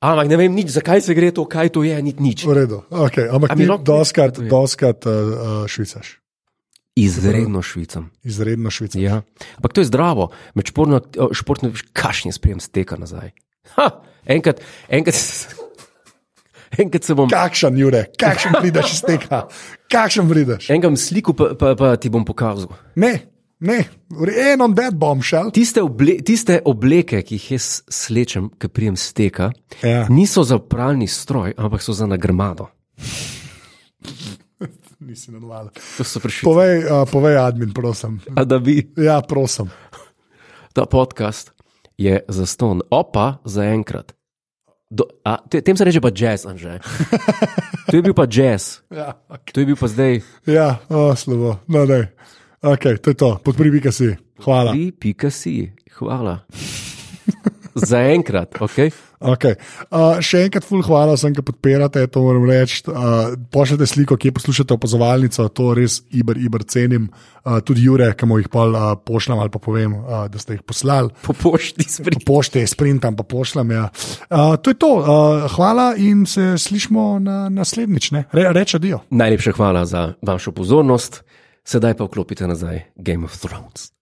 Speaker 1: Ampak ne vem nič, zakaj se gre to, kaj to je, nič. nič.
Speaker 2: V redu, okay. ampak
Speaker 1: A mi
Speaker 2: ti
Speaker 1: lahko Ja.
Speaker 2: doskrat,
Speaker 1: nekaj
Speaker 2: doskrat uh, uh, švicaš,
Speaker 1: Izredno švicam.
Speaker 2: izredno švicaš.
Speaker 1: Ja. Ampak to je zdravo, med športno, akt- o, športno kašnje sprejem steka nazaj. Ha, enkrat, enkrat, se- enkrat se bom.
Speaker 2: Kakšen jure, kakšen prideš iz tega, kakšen prideš.
Speaker 1: Enkam sliko pa, pa, pa ti bom pokazal.
Speaker 2: Ne, ne, en on that bombshell.
Speaker 1: Tiste, oble, tiste obleke, ki jih jaz slečem, ki prijem steka,
Speaker 2: Ja.
Speaker 1: niso za pralni stroj, ampak so za nagrmado.
Speaker 2: Nisi nadval.
Speaker 1: To so prišli.
Speaker 2: Povej, uh, povej, admin, prosim.
Speaker 1: A da bi
Speaker 2: Ja, prosim.
Speaker 1: ta podcast je za ston, opa za enkrat. Do, a, te, tem se reče pa jazz, anže. To je bil pa jazz,
Speaker 2: Ja, okay.
Speaker 1: to je bil pa zdaj
Speaker 2: ja oh, slabo, no, ne. Okay, to je to, podpri mi, kaj si. Hvala.
Speaker 1: ti, pika si, hvala. Za enkrat, ok.
Speaker 2: Okay. Uh, še enkrat, ful, hvala vsem, ki podpirate, to moram reči. Uh, pošljite sliko, kje poslušate opazovalnico, to res iber, iber cenim. Uh, tudi Jure, ki mu jih pol, uh, pošljem ali pa povem, uh, da ste jih poslali.
Speaker 1: Po pošti spri.
Speaker 2: Pošte, sprintam, pa pošljem. Ja. Uh, to je to. Uh, hvala in se slišmo na naslednjič. ne. Re, reče dio.
Speaker 1: Najlepša hvala za vašo pozornost, sedaj pa vklopite nazaj Game of Thrones.